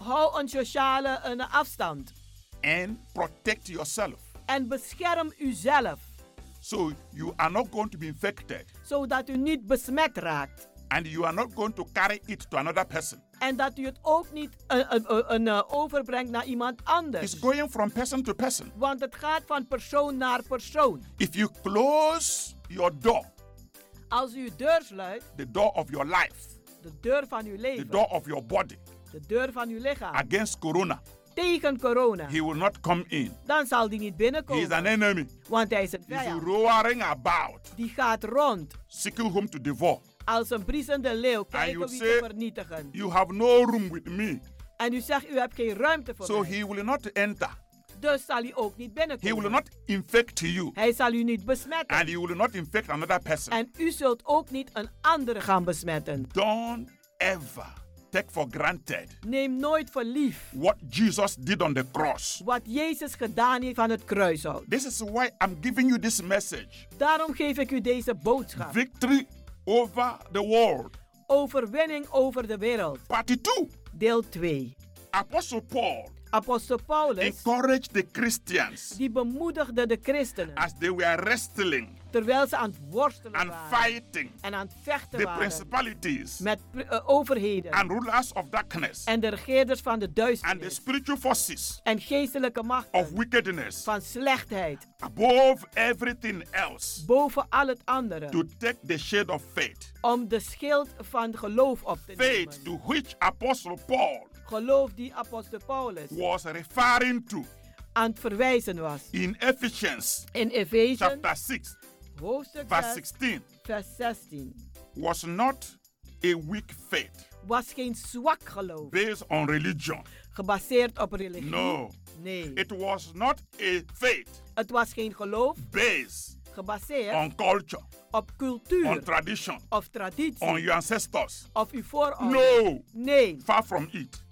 Speaker 9: hou een sociale eh, afstand
Speaker 8: and protect yourself.
Speaker 9: en bescherm uzelf,
Speaker 8: So you are not going to be infected
Speaker 9: zodat u niet besmet raakt
Speaker 8: and you are not going to carry it to another person.
Speaker 9: en dat u het ook niet eh, eh, eh, eh, eh, overbrengt naar iemand anders.
Speaker 8: It's going from person to person.
Speaker 9: Want het gaat van persoon naar persoon.
Speaker 8: If you close your door,
Speaker 9: Als u uw deur sluit,
Speaker 8: the door of your life,
Speaker 9: de deur van uw
Speaker 8: the
Speaker 9: leven,
Speaker 8: door of your body
Speaker 9: de deur van uw lichaam,
Speaker 8: against corona,
Speaker 9: tegen corona,
Speaker 8: he will not come in.
Speaker 9: dan zal die niet
Speaker 8: He is
Speaker 9: binnenkomen.
Speaker 8: an enemy.
Speaker 9: Want hij is een
Speaker 8: He's
Speaker 9: vijand.
Speaker 8: roaring about,
Speaker 9: Die gaat rond
Speaker 8: seeking whom to devour.
Speaker 9: als een briesende leeuw
Speaker 8: you
Speaker 9: kijken wie te
Speaker 8: say-
Speaker 9: vernietigen.
Speaker 8: You have no room with me.
Speaker 9: En u zegt, u hebt geen ruimte voor
Speaker 8: So
Speaker 9: mij.
Speaker 8: he will not enter.
Speaker 9: Dus zal hij ook niet
Speaker 8: He will
Speaker 9: binnenkomen.
Speaker 8: not infect you.
Speaker 9: Hij zal u niet besmetten.
Speaker 8: And you will not infect another person.
Speaker 9: En u zult ook niet een andere gaan besmetten.
Speaker 8: Don't ever take for granted
Speaker 9: Neem nooit voor lief
Speaker 8: what Jesus did on the cross.
Speaker 9: wat Jezus gedaan heeft aan het kruishout.
Speaker 8: This is why I'm giving you this message
Speaker 9: Daarom geef ik u deze boodschap.
Speaker 8: victory over the world.
Speaker 9: Overwinning over de wereld.
Speaker 8: Party 2.
Speaker 9: Deel 2.
Speaker 8: Apostle Paul
Speaker 9: Apostel Paulus,
Speaker 8: encouraged the Christians
Speaker 9: die bemoedigde de christenen
Speaker 8: as they were wrestling
Speaker 9: terwijl ze aan het worstelen
Speaker 8: and
Speaker 9: waren
Speaker 8: fighting
Speaker 9: en aan het vechten
Speaker 8: the
Speaker 9: waren
Speaker 8: principalities
Speaker 9: met pri- eh, overheden
Speaker 8: and rulers of darkness
Speaker 9: en de regeerders van de
Speaker 8: and the
Speaker 9: duisternis
Speaker 8: spiritual forces
Speaker 9: en geestelijke
Speaker 8: of
Speaker 9: machten
Speaker 8: wickedness
Speaker 9: van slechtheid
Speaker 8: above everything else
Speaker 9: boven al het andere
Speaker 8: to take the shade of faith.
Speaker 9: om de schild van geloof op te nemen.
Speaker 8: Faith to which Apostle Paul
Speaker 9: Geloof die apostel Paulus
Speaker 8: was referring to
Speaker 9: aan het verwijzen was.
Speaker 8: in Ephesians
Speaker 9: In Efeze
Speaker 8: chapter 6,
Speaker 9: hoofdstuk
Speaker 8: verse
Speaker 9: 6,
Speaker 8: 16
Speaker 9: vers 16
Speaker 8: was not a weak faith
Speaker 9: was geen zwak geloof
Speaker 8: based on religion.
Speaker 9: gebaseerd op religie.
Speaker 8: No.
Speaker 9: Nee.
Speaker 8: It was not a faith
Speaker 9: Het was geen geloof
Speaker 8: based
Speaker 9: gebaseerd
Speaker 8: on culture,
Speaker 9: op cultuur
Speaker 8: on tradition,
Speaker 9: of traditie
Speaker 8: on your ancestors.
Speaker 9: of uw voorouders.
Speaker 8: No,
Speaker 9: Nee,
Speaker 8: far from it.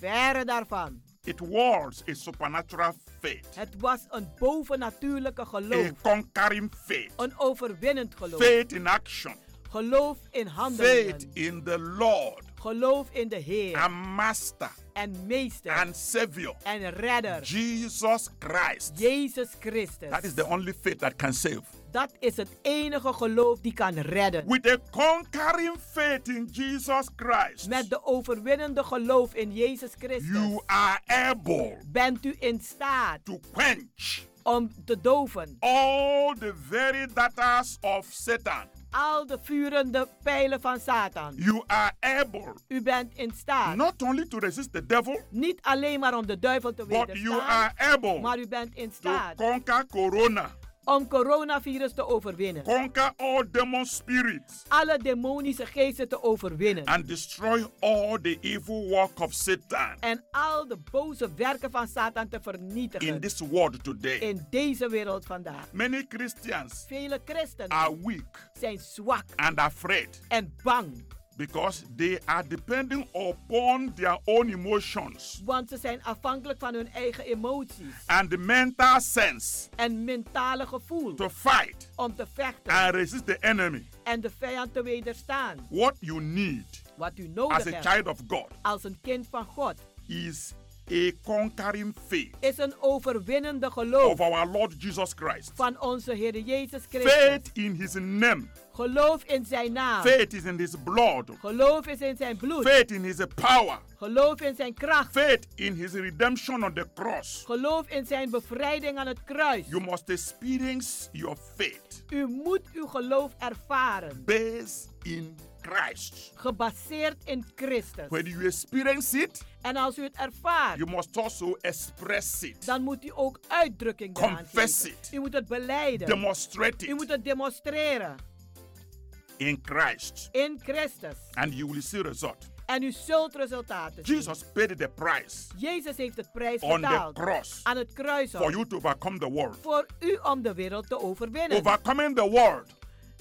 Speaker 9: verre daarvan.
Speaker 8: It was a supernatural faith,
Speaker 9: Het was een bovennatuurlijke
Speaker 8: a
Speaker 9: geloof,
Speaker 8: conquering faith,
Speaker 9: een overwinnend geloof,
Speaker 8: faith in action,
Speaker 9: geloof in
Speaker 8: faith
Speaker 9: handelingen,
Speaker 8: in the Lord
Speaker 9: geloof in de Heer
Speaker 8: and Master
Speaker 9: en Meester
Speaker 8: and Savior,
Speaker 9: en Redder,
Speaker 8: Jesus Christ.
Speaker 9: Jezus Christus.
Speaker 8: That is the only faith that can save.
Speaker 9: Dat is het enige geloof die kan redden.
Speaker 8: With a conquering faith in Jesus Christ,
Speaker 9: Met de overwinnende geloof in Jezus Christus
Speaker 8: you are able
Speaker 9: bent u in staat
Speaker 8: to quench
Speaker 9: om te doven
Speaker 8: all the very daughters of Satan.
Speaker 9: al de vurende pijlen van Satan.
Speaker 8: You are able
Speaker 9: U bent in staat
Speaker 8: not only to resist the devil,
Speaker 9: niet alleen maar om de duivel te
Speaker 8: but you
Speaker 9: wederstaan,
Speaker 8: are able
Speaker 9: maar u bent in
Speaker 8: to
Speaker 9: staat
Speaker 8: conquer corona,
Speaker 9: om coronavirus te overwinnen.
Speaker 8: conquer all demon spirits,
Speaker 9: Alle demonische geesten te overwinnen.
Speaker 8: and destroy all the evil work of Satan
Speaker 9: En al de boze werken van Satan te
Speaker 8: in
Speaker 9: vernietigen.
Speaker 8: this world today.
Speaker 9: In deze wereld vandaag.
Speaker 8: Many Christians
Speaker 9: Vele
Speaker 8: are
Speaker 9: christenen
Speaker 8: weak
Speaker 9: zijn zwak
Speaker 8: and afraid
Speaker 9: en bang.
Speaker 8: because they are depending upon their own emotions
Speaker 9: Want ze zijn afhankelijk van hun eigen emoties
Speaker 8: and the mental sense
Speaker 9: en mentale gevoel
Speaker 8: to fight
Speaker 9: om te vechten
Speaker 8: and resist the enemy.
Speaker 9: en de vijand te wederstaan.
Speaker 8: What you need
Speaker 9: Wat u
Speaker 8: as
Speaker 9: nodig
Speaker 8: a
Speaker 9: hebt
Speaker 8: child of God
Speaker 9: als een kind van God
Speaker 8: is a conquering faith
Speaker 9: is een overwinnende
Speaker 8: of
Speaker 9: geloof
Speaker 8: our Lord Jesus Christ.
Speaker 9: van onze Heer Jezus Christus. Ah.
Speaker 8: Faith in his name.
Speaker 9: Geloof in zijn naam.
Speaker 8: Faith is in his blood.
Speaker 9: Geloof is in zijn bloed.
Speaker 8: Faith in his power.
Speaker 9: Geloof in zijn kracht.
Speaker 8: Faith in his redemption on the cross.
Speaker 9: Geloof in zijn bevrijding aan het kruis.
Speaker 8: You must experience your faith
Speaker 9: U moet uw geloof ervaren,
Speaker 8: based in Christ.
Speaker 9: gebaseerd in Christus.
Speaker 8: When you experience it,
Speaker 9: En als u het ervaart,
Speaker 8: you must also express it,
Speaker 9: dan moet u ook uitdrukking daaraan
Speaker 8: Confess
Speaker 9: geven.
Speaker 8: it.
Speaker 9: U moet het beleiden.
Speaker 8: demonstrate
Speaker 9: U moet
Speaker 8: it.
Speaker 9: het demonstreren.
Speaker 4: in Christ,
Speaker 7: in Christus.
Speaker 4: and you will see result.
Speaker 7: En u zult resultaten zien.
Speaker 4: Jesus paid the price
Speaker 7: Jezus heeft het prijs
Speaker 4: on the
Speaker 7: betaald
Speaker 4: cross
Speaker 7: aan het kruis
Speaker 4: for you to overcome the world.
Speaker 7: voor u om de wereld te overwinnen.
Speaker 4: Overcoming the world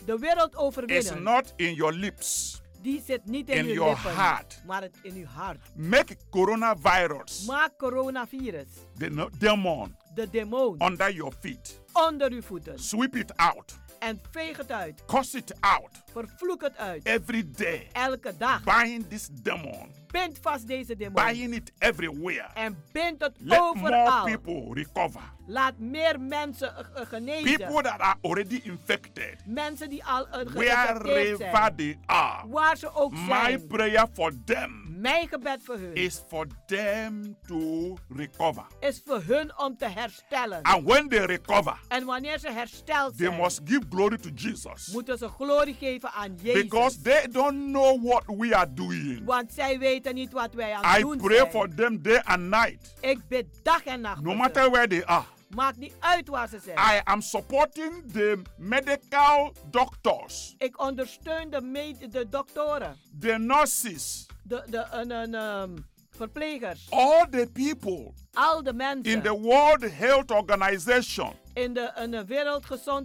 Speaker 7: de wereld
Speaker 4: is
Speaker 7: overwinnen,
Speaker 4: not in your lips.
Speaker 7: die zit niet in,
Speaker 4: in
Speaker 7: uw
Speaker 4: your
Speaker 7: lippen,
Speaker 4: heart.
Speaker 7: maar het in uw hart.
Speaker 4: Make coronavirus
Speaker 7: Maak coronavirus,
Speaker 4: the no- demon
Speaker 7: de demon,
Speaker 4: under your feet.
Speaker 7: onder uw voeten.
Speaker 4: Sweep it out.
Speaker 7: En veeg het uit.
Speaker 4: Curse it out
Speaker 7: Vervloek het uit.
Speaker 4: every day.
Speaker 7: Elke dag.
Speaker 4: Bind this demon.
Speaker 7: Bind vast deze demon.
Speaker 4: Bind it everywhere.
Speaker 7: En bind het
Speaker 4: Let more
Speaker 7: overal.
Speaker 4: people recover.
Speaker 7: Laat meer mensen eh, eh,
Speaker 4: People
Speaker 7: genezen.
Speaker 4: that are already infected,
Speaker 7: Mensen die al eh, geïnfecteerd
Speaker 4: wherever
Speaker 7: zijn.
Speaker 4: they are,
Speaker 7: Waar ze ook
Speaker 4: my
Speaker 7: zijn.
Speaker 4: prayer for them
Speaker 7: Mijn gebed voor hun
Speaker 4: is for them to recover.
Speaker 7: is voor hun om te herstellen.
Speaker 4: And when they recover,
Speaker 7: En wanneer ze hersteld
Speaker 4: they
Speaker 7: zijn,
Speaker 4: must give glory to Jesus.
Speaker 7: moeten ze glorie geven aan Jezus.
Speaker 4: Because they don't know what we are doing.
Speaker 7: Want zij weten niet wat wij aan het
Speaker 4: I
Speaker 7: doen
Speaker 4: pray
Speaker 7: zijn.
Speaker 4: for them day and night,
Speaker 7: Ik bid dag en nacht.
Speaker 4: no
Speaker 7: voor
Speaker 4: matter
Speaker 7: ze.
Speaker 4: where they are.
Speaker 7: Maakt niet uit waar ze zijn.
Speaker 4: I am supporting the medical doctors,
Speaker 7: Ik ondersteun de, med- de doktoren,
Speaker 4: the nurses,
Speaker 7: de, de en- en, ehm, verplegers,
Speaker 4: all the people
Speaker 7: al de mensen
Speaker 4: in the World Health Organization,
Speaker 7: in de, en de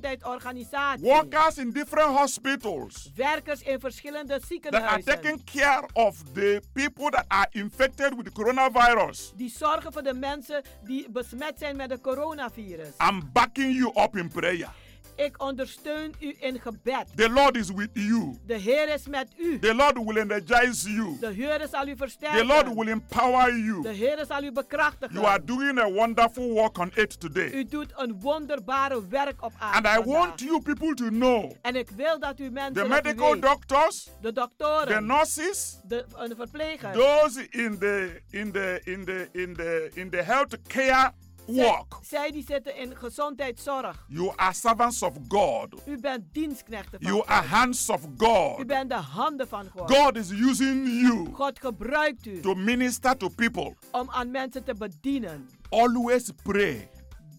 Speaker 7: Wereldgezondheidsorganisatie.
Speaker 4: workers in different hospitals
Speaker 7: Werkers in verschillende
Speaker 4: that are taking
Speaker 7: ziekenhuizen.
Speaker 4: care of the people that are infected with coronavirus.
Speaker 7: Die zorgen voor de mensen die besmet zijn met het coronavirus.
Speaker 4: I'm backing you up in prayer.
Speaker 7: Ik ondersteun u in gebed.
Speaker 4: The Lord is with you.
Speaker 7: De Heer is met u.
Speaker 4: The Lord will energize you.
Speaker 7: De Heer zal u
Speaker 4: The
Speaker 7: versterken.
Speaker 4: Lord will empower you.
Speaker 7: De Heer zal u bekrachtigen.
Speaker 4: You are doing a wonderful work on it today.
Speaker 7: U doet een wonderbare werk op aarde.
Speaker 4: And I
Speaker 7: vandaag.
Speaker 4: want you people to know
Speaker 7: en ik wil dat u mensen.
Speaker 4: the
Speaker 7: dat u
Speaker 4: medical
Speaker 7: weet,
Speaker 4: doctors,
Speaker 7: de doktoren.
Speaker 4: the nurses,
Speaker 7: De, eh, de verplegers.
Speaker 4: those in the in the in the in the in the healthcare
Speaker 7: zij,
Speaker 4: work.
Speaker 7: zij die zitten in gezondheidszorg.
Speaker 4: You are servants of God.
Speaker 7: U bent dienstknechten van
Speaker 4: You
Speaker 7: God.
Speaker 4: are hands of
Speaker 7: U
Speaker 4: God.
Speaker 7: bent de handen van God.
Speaker 4: God is using you
Speaker 7: God gebruikt u
Speaker 4: to minister to people.
Speaker 7: om aan mensen te bedienen.
Speaker 4: Always pray.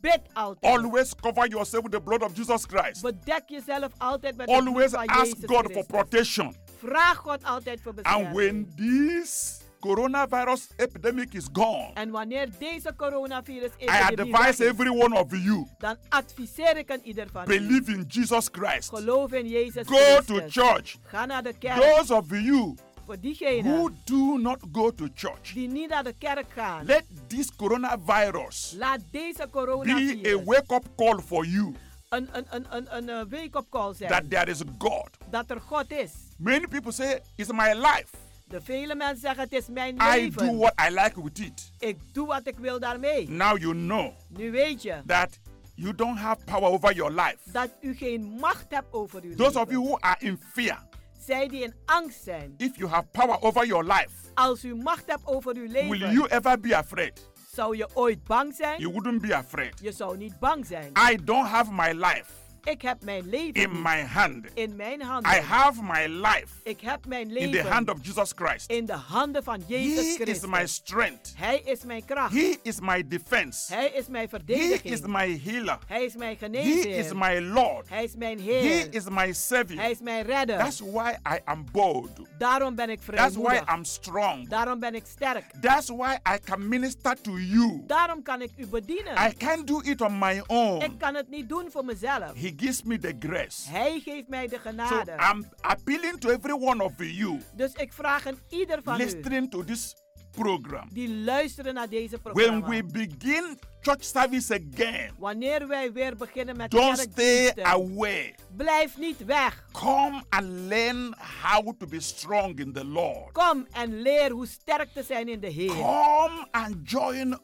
Speaker 7: Bid altijd.
Speaker 4: Always cover yourself with the blood of Jesus Christ.
Speaker 7: Bedek jezelf altijd met het bloed
Speaker 4: Always
Speaker 7: van
Speaker 4: ask
Speaker 7: Jezus
Speaker 4: God for
Speaker 7: Christus.
Speaker 4: protection.
Speaker 7: Vraag God altijd voor
Speaker 4: And
Speaker 7: bescherming.
Speaker 4: when this coronavirus epidemic is gone,
Speaker 7: En wanneer deze coronavirus
Speaker 4: I
Speaker 7: epidemie weg
Speaker 4: advise
Speaker 7: is,
Speaker 4: every one of you
Speaker 7: dan adviseer ik aan ieder van u.
Speaker 4: believe in Jesus Christ.
Speaker 7: Geloof in Jezus
Speaker 4: Go
Speaker 7: Christus.
Speaker 4: to church.
Speaker 7: Ga naar de kerk.
Speaker 4: Those of you
Speaker 7: voor diegenen
Speaker 4: who do not go to church,
Speaker 7: die niet naar de kerk gaan.
Speaker 4: let this coronavirus
Speaker 7: laat deze
Speaker 4: be a
Speaker 7: coronavirus
Speaker 4: wake up call for you
Speaker 7: een, een, een, een, een eh, wake-up call zijn.
Speaker 4: that there is God.
Speaker 7: dat er God is.
Speaker 4: Many people say, It's my life.
Speaker 7: De vele mensen zeggen het is mijn
Speaker 4: I
Speaker 7: leven.
Speaker 4: do what I like with it.
Speaker 7: ik doe wat ik wil daarmee.
Speaker 4: Now you know
Speaker 7: Nu weet je
Speaker 4: that you don't have power over your life.
Speaker 7: dat u geen macht hebt over uw
Speaker 4: Those
Speaker 7: leven.
Speaker 4: of you who are in fear,
Speaker 7: Zij die in angst zijn.
Speaker 4: if you have power over your life,
Speaker 7: Als u macht hebt over uw leven.
Speaker 4: will you ever be afraid?
Speaker 7: Zou je ooit bang zijn?
Speaker 4: You wouldn't be afraid.
Speaker 7: Je zou niet bang zijn.
Speaker 4: I don't have my life
Speaker 7: Ik heb mijn leven
Speaker 4: in
Speaker 7: niet
Speaker 4: my hand.
Speaker 7: in mijn handen.
Speaker 4: I have my life
Speaker 7: ik heb mijn
Speaker 4: in
Speaker 7: leven
Speaker 4: the hand of Jesus Christ.
Speaker 7: in de handen van Jezus
Speaker 4: He is
Speaker 7: Christus.
Speaker 4: my strength.
Speaker 7: Hij is mijn kracht.
Speaker 4: He is my defense.
Speaker 7: Hij is mijn
Speaker 4: He
Speaker 7: verdediging.
Speaker 4: is my healer.
Speaker 7: Hij is mijn
Speaker 4: He
Speaker 7: geneesheer.
Speaker 4: is my Lord.
Speaker 7: Hij is mijn
Speaker 4: He
Speaker 7: Heer.
Speaker 4: is my
Speaker 7: Hij
Speaker 4: Savior.
Speaker 7: is mijn redder.
Speaker 4: That's why I am bold.
Speaker 7: Daarom ben ik
Speaker 4: That's why
Speaker 7: vrijmoedig.
Speaker 4: I'm strong.
Speaker 7: Daarom ben ik sterk.
Speaker 4: That's why I can minister to you.
Speaker 7: Daarom kan ik u bedienen.
Speaker 4: I can't do it on my
Speaker 7: ik
Speaker 4: own.
Speaker 7: kan het niet doen voor mezelf.
Speaker 4: He gives me the grace.
Speaker 7: Hij geeft mij de
Speaker 4: So
Speaker 7: genade.
Speaker 4: I'm appealing to every one of you
Speaker 7: dus ik vraag aan ieder van u
Speaker 4: listening to this program.
Speaker 7: die luisteren naar deze programma.
Speaker 4: When we begin church service again,
Speaker 7: Wanneer wij weer beginnen met
Speaker 4: don't stay
Speaker 7: kerkdiensten,
Speaker 4: away.
Speaker 7: blijf niet weg.
Speaker 4: Come and learn how to be strong in the Lord.
Speaker 7: Kom en leer hoe sterk te zijn in de Heer.
Speaker 4: Come and join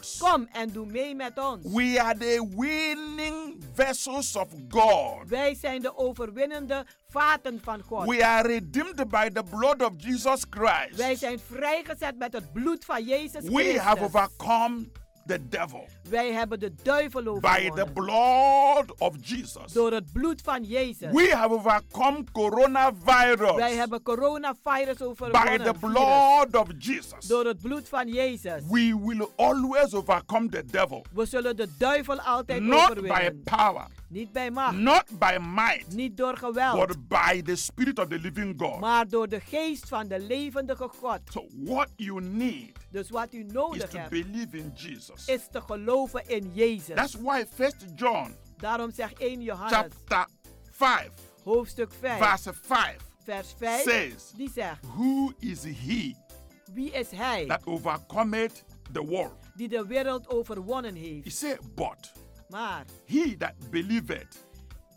Speaker 4: us.
Speaker 7: Kom en doe mee met ons.
Speaker 4: We are the winning vessels of God.
Speaker 7: Wij zijn de overwinnende vaten van God.
Speaker 4: We are redeemed by the blood of Jesus Christ.
Speaker 7: Wij zijn vrijgezet met het bloed van Jezus
Speaker 4: We
Speaker 7: Christus.
Speaker 4: have overcome the devil
Speaker 7: Wij hebben de duivel
Speaker 4: by the
Speaker 7: overwonnen.
Speaker 4: blood of Jesus.
Speaker 7: Door het bloed van Jezus.
Speaker 4: We have overcome
Speaker 7: Wij
Speaker 4: coronavirus
Speaker 7: hebben coronavirus overwonnen.
Speaker 4: by the
Speaker 7: virus.
Speaker 4: blood of Jesus.
Speaker 7: Door het bloed van Jezus.
Speaker 4: We will always overcome the devil,
Speaker 7: We zullen de duivel altijd
Speaker 4: not by
Speaker 7: overwinnen.
Speaker 4: power,
Speaker 9: Niet bij macht.
Speaker 8: not by might,
Speaker 9: Niet door geweld.
Speaker 8: but by the Spirit of the living God.
Speaker 9: Maar door de geest van de levendige God.
Speaker 8: What you need
Speaker 9: Dus wat u
Speaker 8: is
Speaker 9: nodig
Speaker 8: to
Speaker 9: hebt
Speaker 8: believe in Jesus.
Speaker 9: is te geloven in Jezus.
Speaker 8: That's why First John
Speaker 9: Daarom zegt 1 Johannes
Speaker 8: chapter 5
Speaker 9: hoofdstuk 5
Speaker 8: verse 5
Speaker 9: vers 5
Speaker 8: says,
Speaker 9: die zegt
Speaker 8: Who is he
Speaker 9: wie is hij
Speaker 8: that overcometh the world?
Speaker 9: die de wereld overwonnen heeft.
Speaker 8: He said, But
Speaker 9: Maar
Speaker 8: he that believeth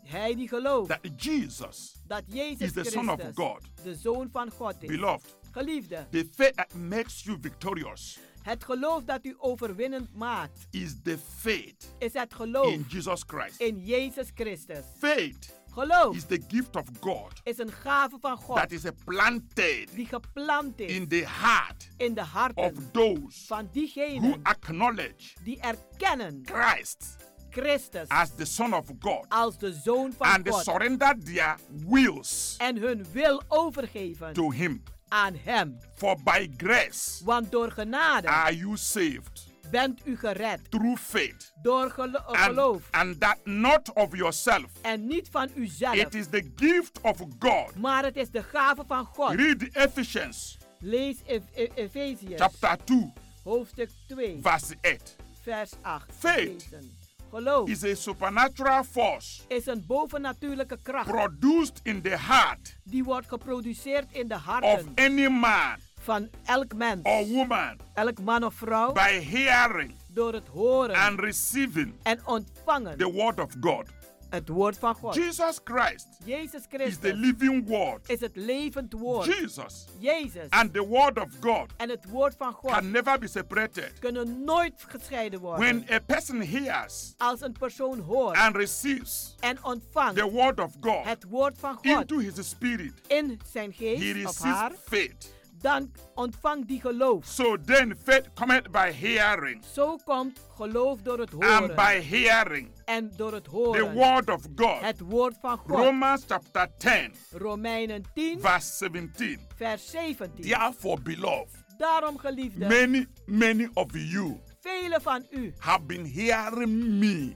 Speaker 9: hij die gelooft
Speaker 8: that Jesus
Speaker 9: dat Jezus
Speaker 8: is the
Speaker 9: Christus
Speaker 8: Son of God.
Speaker 9: de Zoon van God is.
Speaker 8: Beloved,
Speaker 9: Geliefde,
Speaker 8: the faith that makes you victorious
Speaker 9: het geloof dat u overwinnend maakt
Speaker 8: is the faith
Speaker 9: is het geloof
Speaker 8: in Jesus Christ.
Speaker 9: in Jezus Christus.
Speaker 8: Faith
Speaker 9: Geloof
Speaker 8: is the gift of God
Speaker 9: is een gave van God
Speaker 8: that is planted
Speaker 9: die geplant is
Speaker 8: in the heart
Speaker 9: in de harten
Speaker 8: of those
Speaker 9: van
Speaker 8: who
Speaker 9: diegenen
Speaker 8: acknowledge
Speaker 9: die erkennen
Speaker 8: Christ
Speaker 9: Christus
Speaker 8: as the Son of God
Speaker 9: als de Zoon van
Speaker 8: and they
Speaker 9: God
Speaker 8: surrender their wills
Speaker 9: en hun wil overgeven
Speaker 8: to Him.
Speaker 9: aan Hem.
Speaker 8: For by grace
Speaker 9: Want door genade
Speaker 8: are you saved
Speaker 9: bent u gered
Speaker 8: through faith
Speaker 9: door gelo-
Speaker 8: and,
Speaker 9: eh, geloof
Speaker 8: and that not of yourself.
Speaker 9: en niet van uzelf.
Speaker 8: It is the gift of God.
Speaker 9: Maar het is de gave van God.
Speaker 8: Read Ephesians
Speaker 9: Lees Ef- Ef- Efeziërs
Speaker 8: chapter 2
Speaker 9: hoofdstuk 2
Speaker 8: verse 8.
Speaker 9: vers 8.
Speaker 8: Faith
Speaker 9: Lezen. Geloof
Speaker 8: is a supernatural force
Speaker 9: is een bovennatuurlijke kracht
Speaker 8: produced in the heart
Speaker 9: die wordt geproduceerd in de
Speaker 8: of
Speaker 9: harten
Speaker 8: any man
Speaker 9: van elk mens,
Speaker 8: or woman
Speaker 9: elk man of vrouw,
Speaker 8: by hearing
Speaker 9: door het horen
Speaker 8: and receiving
Speaker 9: en ontvangen
Speaker 8: the word of God.
Speaker 9: het woord van God.
Speaker 8: Jesus Christ
Speaker 9: Jezus
Speaker 8: is the
Speaker 9: Christus
Speaker 8: living word.
Speaker 9: is het levend woord.
Speaker 8: Jesus
Speaker 9: Jezus
Speaker 8: and the word of God
Speaker 9: en het woord van God
Speaker 8: can never be separated.
Speaker 9: kunnen nooit gescheiden worden.
Speaker 8: When a person hears
Speaker 9: Als een persoon hoort
Speaker 8: and receives
Speaker 9: en
Speaker 8: the
Speaker 9: ontvangt
Speaker 8: word of God
Speaker 9: het woord van God
Speaker 8: into his spirit,
Speaker 9: in zijn
Speaker 8: he
Speaker 9: geest of haar,
Speaker 8: receives faith.
Speaker 9: dan ontvangt die geloof.
Speaker 8: So then faith cometh by hearing,
Speaker 9: Zo komt geloof door het
Speaker 8: and by
Speaker 9: horen
Speaker 8: hearing
Speaker 9: en door het
Speaker 8: the
Speaker 9: horen
Speaker 8: word of God.
Speaker 9: het woord van God.
Speaker 8: Romans chapter 10,
Speaker 9: Romeinen 10,
Speaker 8: verse 17.
Speaker 9: vers 17.
Speaker 8: Therefore, beloved,
Speaker 9: Daarom geliefde,
Speaker 8: many, many of you
Speaker 9: velen van u
Speaker 8: have been hearing me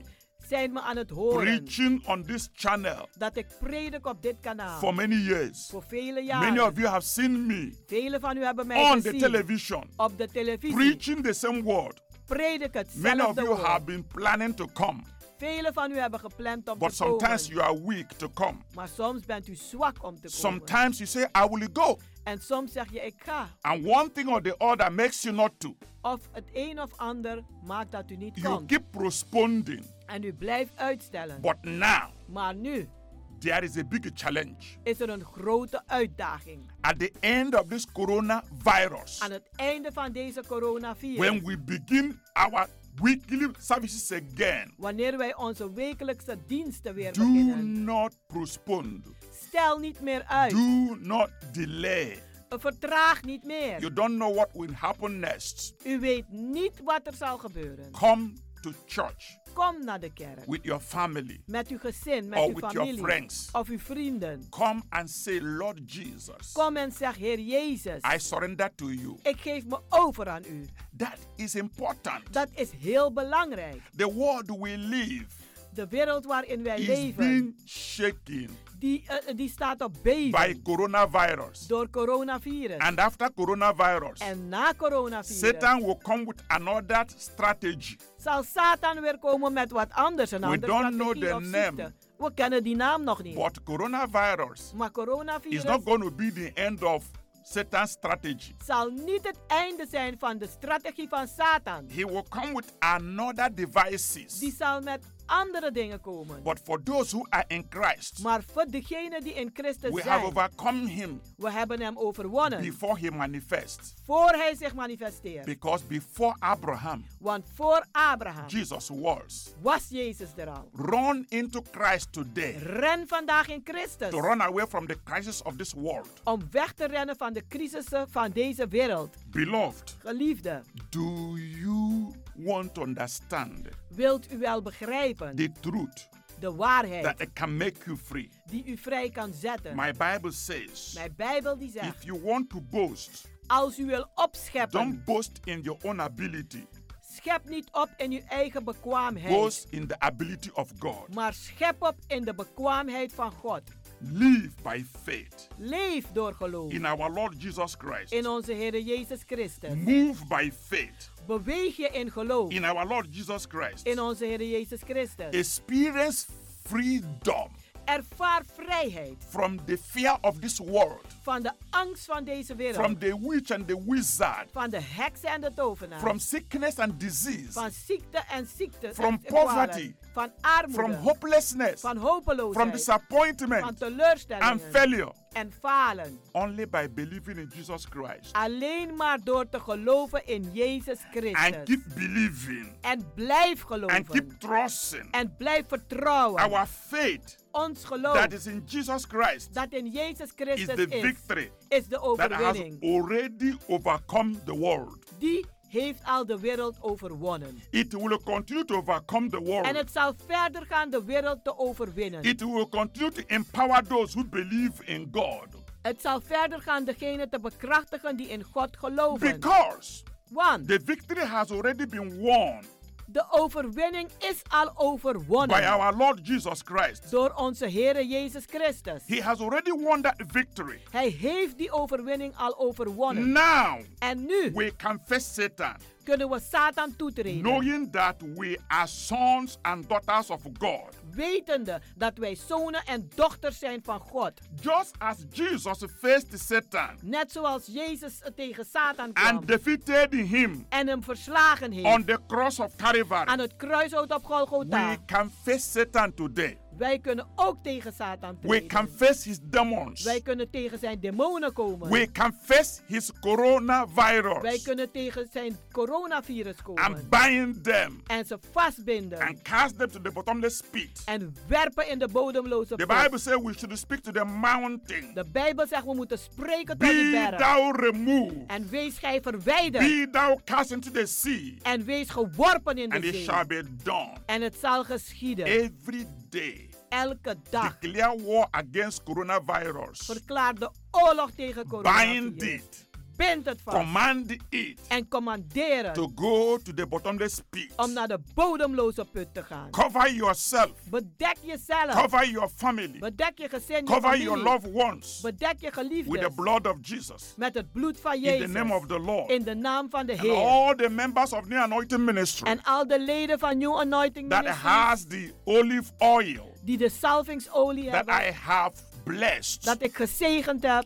Speaker 9: zijn me aan het horen
Speaker 8: preaching on this channel
Speaker 9: dat ik predik op dit kanaal.
Speaker 8: for many years.
Speaker 9: Voor vele
Speaker 8: Many
Speaker 9: jaren.
Speaker 8: of you have seen me
Speaker 9: Velen van u hebben mij
Speaker 8: on the
Speaker 9: gezien
Speaker 8: television
Speaker 9: op de televisie.
Speaker 8: preaching the same word.
Speaker 9: Predik
Speaker 8: Many of
Speaker 9: hetzelfde
Speaker 8: you
Speaker 9: woord.
Speaker 8: have been planning to come,
Speaker 9: Velen van u hebben gepland om
Speaker 8: but
Speaker 9: te komen.
Speaker 8: sometimes you are weak to come.
Speaker 9: Maar soms bent u zwak om te komen.
Speaker 8: Sometimes you say, I will go.
Speaker 9: En soms zeg je ik ga.
Speaker 8: And one thing or the other makes you not to.
Speaker 9: Of het een of ander maakt dat u niet
Speaker 8: You
Speaker 9: komt.
Speaker 8: keep postponing.
Speaker 9: En u blijft uitstellen.
Speaker 8: But now,
Speaker 9: Maar nu
Speaker 8: there is a big challenge.
Speaker 9: is er een grote uitdaging.
Speaker 8: At the end of this
Speaker 9: Aan
Speaker 8: coronavirus,
Speaker 9: het einde van deze coronavirus.
Speaker 8: when we begin our weekly services again,
Speaker 9: Wanneer wij onze wekelijkse diensten weer
Speaker 8: do
Speaker 9: beginnen.
Speaker 8: not postpone.
Speaker 9: Stel niet meer uit.
Speaker 8: Do not delay.
Speaker 9: Vertraag niet meer.
Speaker 8: You don't know what will happen next.
Speaker 9: U weet niet wat er zal gebeuren.
Speaker 8: Come to church
Speaker 9: Kom naar de kerk.
Speaker 8: with your family.
Speaker 9: Met uw gezin, met
Speaker 8: Or
Speaker 9: uw
Speaker 8: with your
Speaker 9: familie.
Speaker 8: friends.
Speaker 9: Of uw vrienden.
Speaker 8: Come and say, Lord Jesus,
Speaker 9: Kom en zeg, Heer Jezus,
Speaker 8: I surrender to you.
Speaker 9: ik geef me over aan u.
Speaker 8: That is important.
Speaker 9: Dat is heel belangrijk.
Speaker 8: The world we live
Speaker 9: De wereld waarin wij
Speaker 8: is
Speaker 9: leven,
Speaker 8: being shaken
Speaker 9: die, eh, die staat op
Speaker 8: by
Speaker 9: beven
Speaker 8: coronavirus.
Speaker 9: door coronavirus.
Speaker 8: And after coronavirus,
Speaker 9: en na coronavirus
Speaker 8: Satan will come with another strategy.
Speaker 9: zal Satan weer komen met wat anders. Een
Speaker 8: We
Speaker 9: andere
Speaker 8: don't know
Speaker 9: strategie
Speaker 8: the
Speaker 9: of
Speaker 8: name.
Speaker 9: ziekte. We kennen die naam nog niet.
Speaker 8: But coronavirus
Speaker 9: maar
Speaker 8: is
Speaker 9: coronavirus
Speaker 8: not going to be the end of Satan's strategy.
Speaker 9: zal niet het einde zijn van de strategie van Satan.
Speaker 8: He will come with another
Speaker 9: Die
Speaker 8: devices.
Speaker 9: zal met andere dingen komen.
Speaker 8: But for those who are in Christ,
Speaker 9: Maar voor degenen die in Christus
Speaker 8: we have
Speaker 9: zijn,
Speaker 8: overcome him
Speaker 9: we hebben hem overwonnen.
Speaker 8: before he manifests.
Speaker 9: voor hij zich manifesteert.
Speaker 8: Because before Abraham,
Speaker 9: Want voor Abraham
Speaker 8: Jesus was.
Speaker 9: was Jezus er al.
Speaker 8: Run into Christ today
Speaker 9: Ren vandaag in Christus.
Speaker 8: to run away from the crisis of this world.
Speaker 9: Om weg te rennen van de crisissen van deze wereld.
Speaker 8: Beloved,
Speaker 9: Geliefde,
Speaker 8: do you want to understand
Speaker 9: wilt u wel begrijpen
Speaker 8: the truth
Speaker 9: de waarheid
Speaker 8: that it can make you free?
Speaker 9: die u vrij kan zetten?
Speaker 8: My Bible says
Speaker 9: Mijn Bijbel die zegt,
Speaker 8: if you want to boast,
Speaker 9: als u wil opscheppen,
Speaker 8: don't boast in your own ability,
Speaker 9: Schep niet op in uw eigen bekwaamheid,
Speaker 8: Boast in the ability of God.
Speaker 9: maar schep op in de bekwaamheid van God.
Speaker 8: Live by faith
Speaker 9: Leef door geloof
Speaker 8: in our Lord Jesus Christ.
Speaker 9: in onze Heer Jezus Christus.
Speaker 8: Move by faith
Speaker 9: Beweeg je in geloof
Speaker 8: in our Lord Jesus Christ.
Speaker 9: in onze Heer Jezus Christus.
Speaker 8: Experience freedom
Speaker 9: Ervaar vrijheid
Speaker 8: from the fear of this world,
Speaker 9: van de angst van deze
Speaker 8: from
Speaker 9: wereld,
Speaker 8: the witch and the wizard,
Speaker 9: van de heksen en de tovenaar,
Speaker 8: from sickness and disease,
Speaker 9: van ziekte en ziekte,
Speaker 8: From
Speaker 9: en kwalen,
Speaker 8: poverty.
Speaker 9: van armoede,
Speaker 8: from hopelessness,
Speaker 9: van hopeloosheid,
Speaker 8: from disappointment
Speaker 9: van teleurstellingen
Speaker 8: and failure.
Speaker 9: en falen.
Speaker 8: Only by believing in Jesus Christ
Speaker 9: Alleen maar door te geloven in Jezus Christus.
Speaker 8: and keep believing
Speaker 9: en blijf
Speaker 8: and
Speaker 9: geloven.
Speaker 8: keep trusting
Speaker 9: En blijf vertrouwen.
Speaker 8: our faith
Speaker 9: Ons geloof
Speaker 8: that is in Jesus Christ
Speaker 9: dat in Jezus
Speaker 8: is
Speaker 9: Christus
Speaker 8: the
Speaker 9: is,
Speaker 8: victory
Speaker 9: is de
Speaker 8: that has
Speaker 9: overwinning.
Speaker 8: already overcome the world.
Speaker 9: Die heeft al de wereld overwonnen.
Speaker 8: It will continue to overcome the world.
Speaker 9: En het zal verder gaan de wereld te overwinnen.
Speaker 8: It will continue to empower those who believe in God
Speaker 9: Het zal verder gaan degenen te bekrachtigen die in God geloven.
Speaker 8: because
Speaker 9: Want
Speaker 8: the victory has already been won
Speaker 9: de overwinning is al
Speaker 8: by
Speaker 9: overwonnen
Speaker 8: our Lord Jesus Christ.
Speaker 9: door onze Heere Jezus Christus.
Speaker 8: He has already won that victory.
Speaker 9: Hij heeft die overwinning al overwonnen.
Speaker 8: Now
Speaker 9: en nu
Speaker 8: we can face Satan,
Speaker 9: kunnen we Satan toetreden.
Speaker 8: knowing that we are sons and daughters of God.
Speaker 9: Wetende dat wij zonen en dochters zijn van God.
Speaker 8: Just as Jesus faced Satan
Speaker 9: Net zoals Jezus tegen Satan kwam.
Speaker 8: and defeated him
Speaker 9: en hem verslagen heeft.
Speaker 8: on the cross of Calvary,
Speaker 9: aan het kruishout op Golgotha.
Speaker 8: we can face Satan today.
Speaker 9: wij kunnen ook tegen Satan
Speaker 8: We
Speaker 9: treden.
Speaker 8: can face his demons.
Speaker 9: wij kunnen tegen zijn demonen komen.
Speaker 8: We can face his
Speaker 9: wij
Speaker 8: coronavirus
Speaker 9: kunnen tegen zijn coronavirus komen.
Speaker 8: and bind them
Speaker 9: en ze vastbinden.
Speaker 8: and cast them to the bottomless pit.
Speaker 9: en werpen in de bodemloze
Speaker 8: The
Speaker 9: put.
Speaker 8: Bible says we should speak to the mountain.
Speaker 9: de Bijbel zegt we moeten spreken tot
Speaker 8: Be
Speaker 9: die berg.
Speaker 8: thou removed.
Speaker 9: En wees gij verwijderd.
Speaker 8: Be thou cast into the sea.
Speaker 9: en wees geworpen in de
Speaker 8: And it
Speaker 9: zee.
Speaker 8: shall be done.
Speaker 9: En het zal geschieden.
Speaker 8: Every day.
Speaker 9: Elke dag.
Speaker 8: Declare war against coronavirus.
Speaker 9: Verklaar de oorlog tegen
Speaker 8: Bind
Speaker 9: coronavirus.
Speaker 8: it.
Speaker 9: Bind het vast.
Speaker 8: Command it
Speaker 9: en commanderen
Speaker 8: to go to the bottomless pit.
Speaker 9: om naar de bodemloze put te gaan.
Speaker 8: Cover yourself.
Speaker 9: Bedek jezelf.
Speaker 8: Cover your family.
Speaker 9: Bedek je gezin, je
Speaker 8: Cover
Speaker 9: familie.
Speaker 8: your loved ones
Speaker 9: Bedek je
Speaker 8: with the
Speaker 9: geliefden
Speaker 8: blood of Jesus.
Speaker 9: met het bloed van
Speaker 8: In the
Speaker 9: Jezus.
Speaker 8: name of the Lord.
Speaker 9: in de naam van de
Speaker 8: And
Speaker 9: Heer.
Speaker 8: all the members of the anointing ministry
Speaker 9: En al de leden van New Anointing
Speaker 8: that
Speaker 9: Ministries
Speaker 8: has the olive oil
Speaker 9: die de salvingsolie
Speaker 8: that
Speaker 9: hebben,
Speaker 8: I have blessed
Speaker 9: dat ik gezegend heb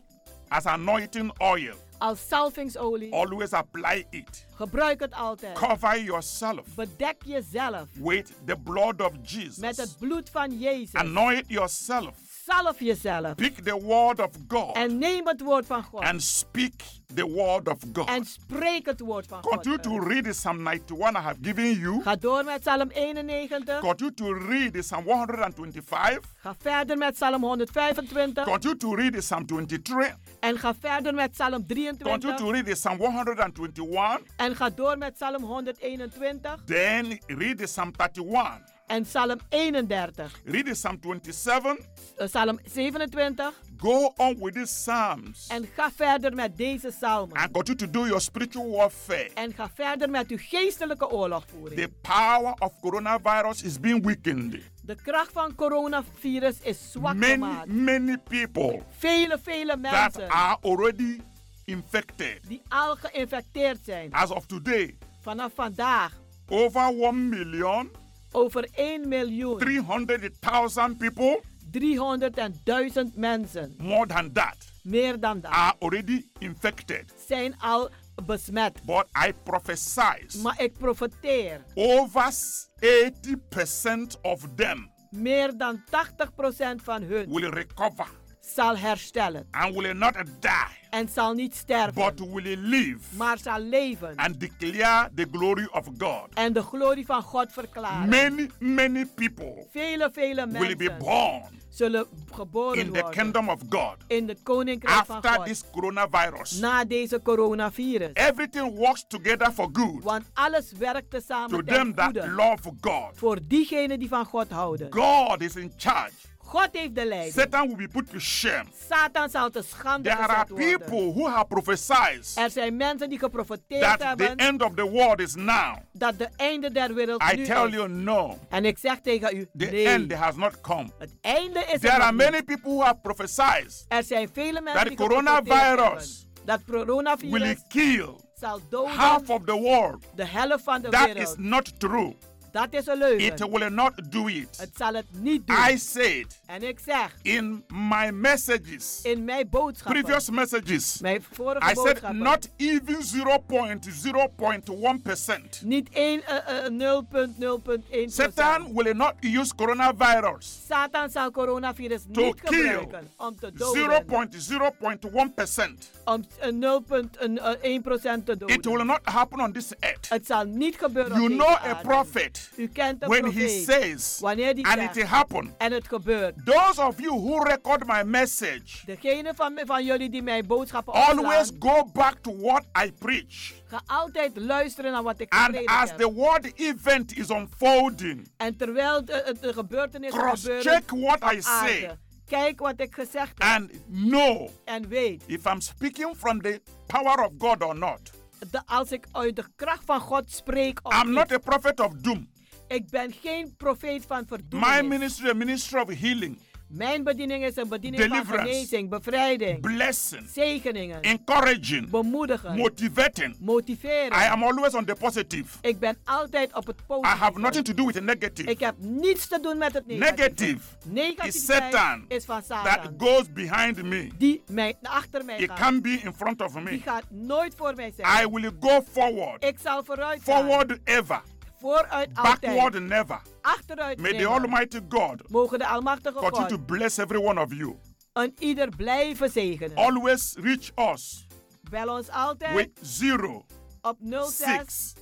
Speaker 8: as anointing oil.
Speaker 9: als salvingsolie.
Speaker 8: Always apply it.
Speaker 9: Gebruik het altijd.
Speaker 8: Cover yourself
Speaker 9: Bedek jezelf
Speaker 8: with the blood of
Speaker 9: met
Speaker 8: Jesus.
Speaker 9: het bloed van Jezus.
Speaker 8: Anoint yourself.
Speaker 9: Zalf jezelf.
Speaker 8: Pick the word of God
Speaker 9: En neem het woord van God.
Speaker 8: and speak the word of God.
Speaker 9: En spreek het woord van
Speaker 8: Continue
Speaker 9: God.
Speaker 8: to read Psalm 91 I have given you.
Speaker 9: Ga door met Psalm 91.
Speaker 8: Continue to read Psalm 125.
Speaker 9: Ga verder met Psalm 125.
Speaker 8: Continue to read Psalm 23.
Speaker 9: En ga verder met Psalm
Speaker 8: Continue
Speaker 9: 23.
Speaker 8: to read Psalm 121.
Speaker 9: En ga door met Psalm 121.
Speaker 8: Then read Psalm 31.
Speaker 9: En Psalm 31.
Speaker 8: Read Psalm 27.
Speaker 9: Eh, Psalm 27.
Speaker 8: Go on with these psalms
Speaker 9: En ga verder met deze psalmen.
Speaker 8: and continue to do your spiritual warfare.
Speaker 9: En ga verder met uw geestelijke oorlogvoering.
Speaker 8: The power of coronavirus is being weakened.
Speaker 9: De kracht van coronavirus is zwak
Speaker 8: Many,
Speaker 9: gemaakt.
Speaker 8: many people
Speaker 9: Vele, vele
Speaker 8: that
Speaker 9: mensen
Speaker 8: are already infected.
Speaker 9: die al geïnfecteerd zijn.
Speaker 8: As of today,
Speaker 9: Vanaf vandaag
Speaker 8: over 1 million
Speaker 9: over 1 miljoen
Speaker 8: 300,000 people,
Speaker 9: 300.000 mensen,
Speaker 8: more than that,
Speaker 9: meer dan dat,
Speaker 8: are already infected.
Speaker 9: zijn al besmet.
Speaker 8: But I prophesy
Speaker 9: Maar ik profeteer,
Speaker 8: over 80% of them
Speaker 9: meer dan 80% van hun
Speaker 8: will recover
Speaker 9: zal herstellen
Speaker 8: and will not die,
Speaker 9: en zal niet sterven,
Speaker 8: but will live
Speaker 9: maar zal leven
Speaker 8: and declare the glory of God.
Speaker 9: en de glorie van God verklaren.
Speaker 8: Many, many people
Speaker 9: Vele, vele
Speaker 8: will be
Speaker 9: mensen
Speaker 8: born
Speaker 9: zullen
Speaker 8: in
Speaker 9: geboren
Speaker 8: the
Speaker 9: worden
Speaker 8: kingdom of God
Speaker 9: in het koninkrijk van
Speaker 8: after
Speaker 9: God
Speaker 8: this coronavirus.
Speaker 9: na deze coronavirus.
Speaker 8: Everything works together for good
Speaker 9: Want alles werkt tezamen
Speaker 8: to
Speaker 9: ten
Speaker 8: them that
Speaker 9: goede
Speaker 8: love God.
Speaker 9: voor diegenen die van God houden.
Speaker 8: God is in charge
Speaker 7: God heeft de leiding.
Speaker 4: Satan will be put to shame.
Speaker 7: Satan zal te schande
Speaker 4: There are
Speaker 7: gezet worden.
Speaker 4: people who have prophesied
Speaker 7: Er zijn mensen die geprofiteerd
Speaker 4: that the
Speaker 7: hebben
Speaker 4: end of the world is now.
Speaker 7: dat de einde der wereld
Speaker 4: I
Speaker 7: nu
Speaker 4: tell
Speaker 7: is.
Speaker 4: you no.
Speaker 7: En ik zeg tegen u,
Speaker 4: The
Speaker 7: nee.
Speaker 4: end has not come.
Speaker 7: Einde is er
Speaker 4: There
Speaker 7: nog
Speaker 4: are many
Speaker 7: niet.
Speaker 4: people who have prophesied
Speaker 7: Er zijn vele mensen
Speaker 4: that
Speaker 7: die
Speaker 4: coronavirus
Speaker 7: geprofiteerd hebben dat coronavirus
Speaker 4: will kill
Speaker 7: zal doden
Speaker 4: half of the world.
Speaker 7: de helft van de
Speaker 4: That
Speaker 7: wereld.
Speaker 4: is not true.
Speaker 7: dat is een leugen.
Speaker 4: It will not do it.
Speaker 7: het zal het niet doen.
Speaker 4: I said
Speaker 7: en ik zeg,
Speaker 4: in my messages,
Speaker 7: in mijn boodschappen,
Speaker 4: previous messages,
Speaker 7: mijn vorige
Speaker 4: I said
Speaker 7: boodschappen,
Speaker 4: not even 0.0.1%.
Speaker 7: niet 1, eh, eh, 0.0.1
Speaker 4: Satan will not use coronavirus
Speaker 7: Satan zal coronavirus
Speaker 4: To
Speaker 7: niet
Speaker 4: kill
Speaker 7: gebruiken om te doden.
Speaker 4: 0.0.1%.
Speaker 7: Om eh, 0.1% te doden.
Speaker 4: It will not happen on this earth.
Speaker 7: Het zal niet gebeuren
Speaker 4: You
Speaker 7: op
Speaker 4: know
Speaker 7: deze
Speaker 4: a
Speaker 7: aarde.
Speaker 4: prophet
Speaker 7: U kent een
Speaker 4: when he
Speaker 7: profeet.
Speaker 4: says,
Speaker 7: Wanneer die
Speaker 4: and
Speaker 7: zegt,
Speaker 4: it happened.
Speaker 7: En het gebeurt.
Speaker 4: Those of you who record my message,
Speaker 7: Degene van, me- van jullie die mijn boodschappen
Speaker 4: always
Speaker 7: opslaan,
Speaker 4: go back to what I preach.
Speaker 7: ga altijd luisteren naar wat ik
Speaker 4: And
Speaker 7: gepredikt
Speaker 4: as
Speaker 7: heb.
Speaker 4: the word event is unfolding,
Speaker 7: En terwijl de, het- de gebeurtenissen gebeuren
Speaker 4: cross-check what
Speaker 7: op
Speaker 4: I say
Speaker 7: aarde, kijk wat ik gezegd heb
Speaker 4: and know
Speaker 7: en weet
Speaker 4: if I'm speaking from the power of God or not.
Speaker 7: dat als ik uit de kracht van God spreek of
Speaker 4: I'm
Speaker 7: niet.
Speaker 4: not a prophet of doom.
Speaker 7: Ik ben geen profeet van
Speaker 4: My
Speaker 7: verdoemenis.
Speaker 4: ministry is a ministry of healing,
Speaker 7: Mijn bediening is een bediening van
Speaker 4: Deliverance.
Speaker 7: genezing, bevrijding,
Speaker 4: blessing,
Speaker 7: zegeningen,
Speaker 4: encouraging,
Speaker 7: bemoedigen,
Speaker 4: motivating.
Speaker 7: motiveren.
Speaker 4: I am always on the positive.
Speaker 7: Ik ben altijd op het
Speaker 4: I
Speaker 7: podium.
Speaker 4: have nothing to do with the negative.
Speaker 7: Ik heb niets te doen met het negatieve.
Speaker 4: Negative is
Speaker 7: Negativiteit
Speaker 4: Satan
Speaker 7: is van
Speaker 4: that
Speaker 7: Satan.
Speaker 4: goes behind me.
Speaker 7: Die mij achter mij
Speaker 4: It
Speaker 7: gaat.
Speaker 4: can be in front of
Speaker 7: Die
Speaker 4: me.
Speaker 7: gaat nooit voor mij zijn.
Speaker 4: I will go forward.
Speaker 7: Ik zal vooruit gaan.
Speaker 4: Forward ever.
Speaker 7: Vooruit altijd.
Speaker 4: Backward never.
Speaker 7: Achteruit
Speaker 4: May the
Speaker 7: nimmer.
Speaker 4: Almighty God
Speaker 7: Mogen de Almachtige
Speaker 4: continue to
Speaker 7: God
Speaker 4: bless every one of you.
Speaker 7: een ieder blijven zegenen.
Speaker 4: Always reach us
Speaker 7: Bel ons altijd
Speaker 4: with 0
Speaker 7: op 06
Speaker 4: 6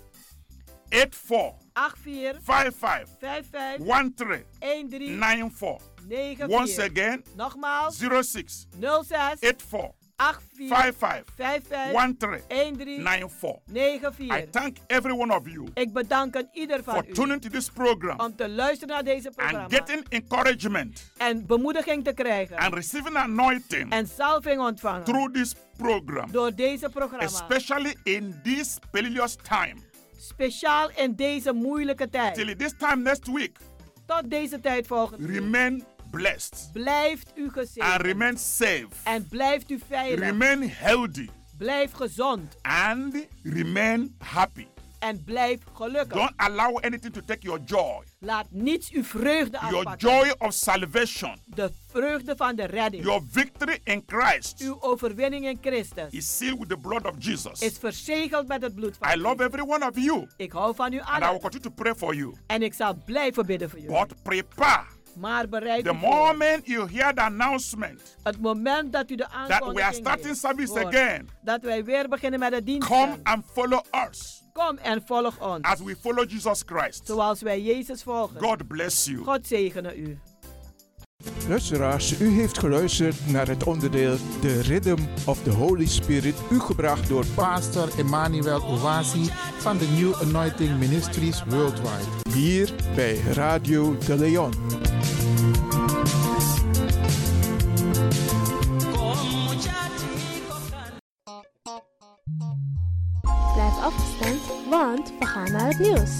Speaker 4: 84
Speaker 7: 84
Speaker 4: 55
Speaker 7: 55
Speaker 4: 13
Speaker 7: 13
Speaker 4: 94.
Speaker 7: 94.
Speaker 4: Once again,
Speaker 7: Nogmaals
Speaker 4: 06
Speaker 7: 06
Speaker 4: 84
Speaker 7: 84
Speaker 4: 55
Speaker 7: 55
Speaker 4: 13 94.
Speaker 7: 94.
Speaker 4: I thank every one of you
Speaker 7: Ik bedank aan ieder van
Speaker 4: for
Speaker 7: u
Speaker 4: tuning to this program
Speaker 7: om te luisteren naar deze
Speaker 4: and
Speaker 7: programma
Speaker 4: getting encouragement
Speaker 7: en bemoediging te krijgen
Speaker 4: and receiving anointing
Speaker 7: en salving ontvangen
Speaker 4: through this program,
Speaker 7: door deze programma.
Speaker 4: especially in this perilous time.
Speaker 7: Speciaal in deze moeilijke tijd.
Speaker 4: Till this time next week,
Speaker 7: Tot deze tijd volgende week.
Speaker 4: remain blessed
Speaker 7: Blijft u
Speaker 4: and
Speaker 7: gezegend
Speaker 4: remain safe,
Speaker 7: en blijft u veilig.
Speaker 4: remain healthy,
Speaker 7: Blijf gezond
Speaker 4: and remain happy.
Speaker 7: en blijf gelukkig.
Speaker 4: Don't allow anything to take your joy,
Speaker 7: Laat niets uw vreugde
Speaker 4: your
Speaker 7: afpakken.
Speaker 4: joy of salvation,
Speaker 7: De vreugde van de redding.
Speaker 4: your victory in Christ
Speaker 7: Uw overwinning in Christus
Speaker 4: is sealed with the blood of Jesus.
Speaker 7: is verzegeld met het bloed van
Speaker 4: I love
Speaker 7: Christus.
Speaker 4: every one of you,
Speaker 7: Ik hou van u
Speaker 4: and I will
Speaker 7: allen
Speaker 4: continue to pray for you.
Speaker 7: en ik zal blijven bidden voor jullie.
Speaker 4: But prepare.
Speaker 7: Maar bereid
Speaker 4: The
Speaker 7: u voor.
Speaker 4: moment you hear the announcement
Speaker 7: Het moment dat u de
Speaker 4: that we are
Speaker 7: aankondiging
Speaker 4: starting
Speaker 7: deed,
Speaker 4: service
Speaker 7: hoort
Speaker 4: again,
Speaker 7: dat wij weer beginnen met de dienst.
Speaker 4: come and follow us
Speaker 7: Kom en volg ons.
Speaker 4: as we follow Jesus Christ.
Speaker 7: Zoals wij Jezus volgen.
Speaker 4: God bless you.
Speaker 7: God zegene u.
Speaker 15: Luisteraars, u heeft geluisterd naar het onderdeel The Rhythm of the Holy Spirit, u gebracht door
Speaker 16: Pastor Emmanuel Owasi van de New Anointing Ministries Worldwide.
Speaker 15: hier bij Radio de Leon.
Speaker 10: Blijf afgestemd, want we gaan naar het nieuws.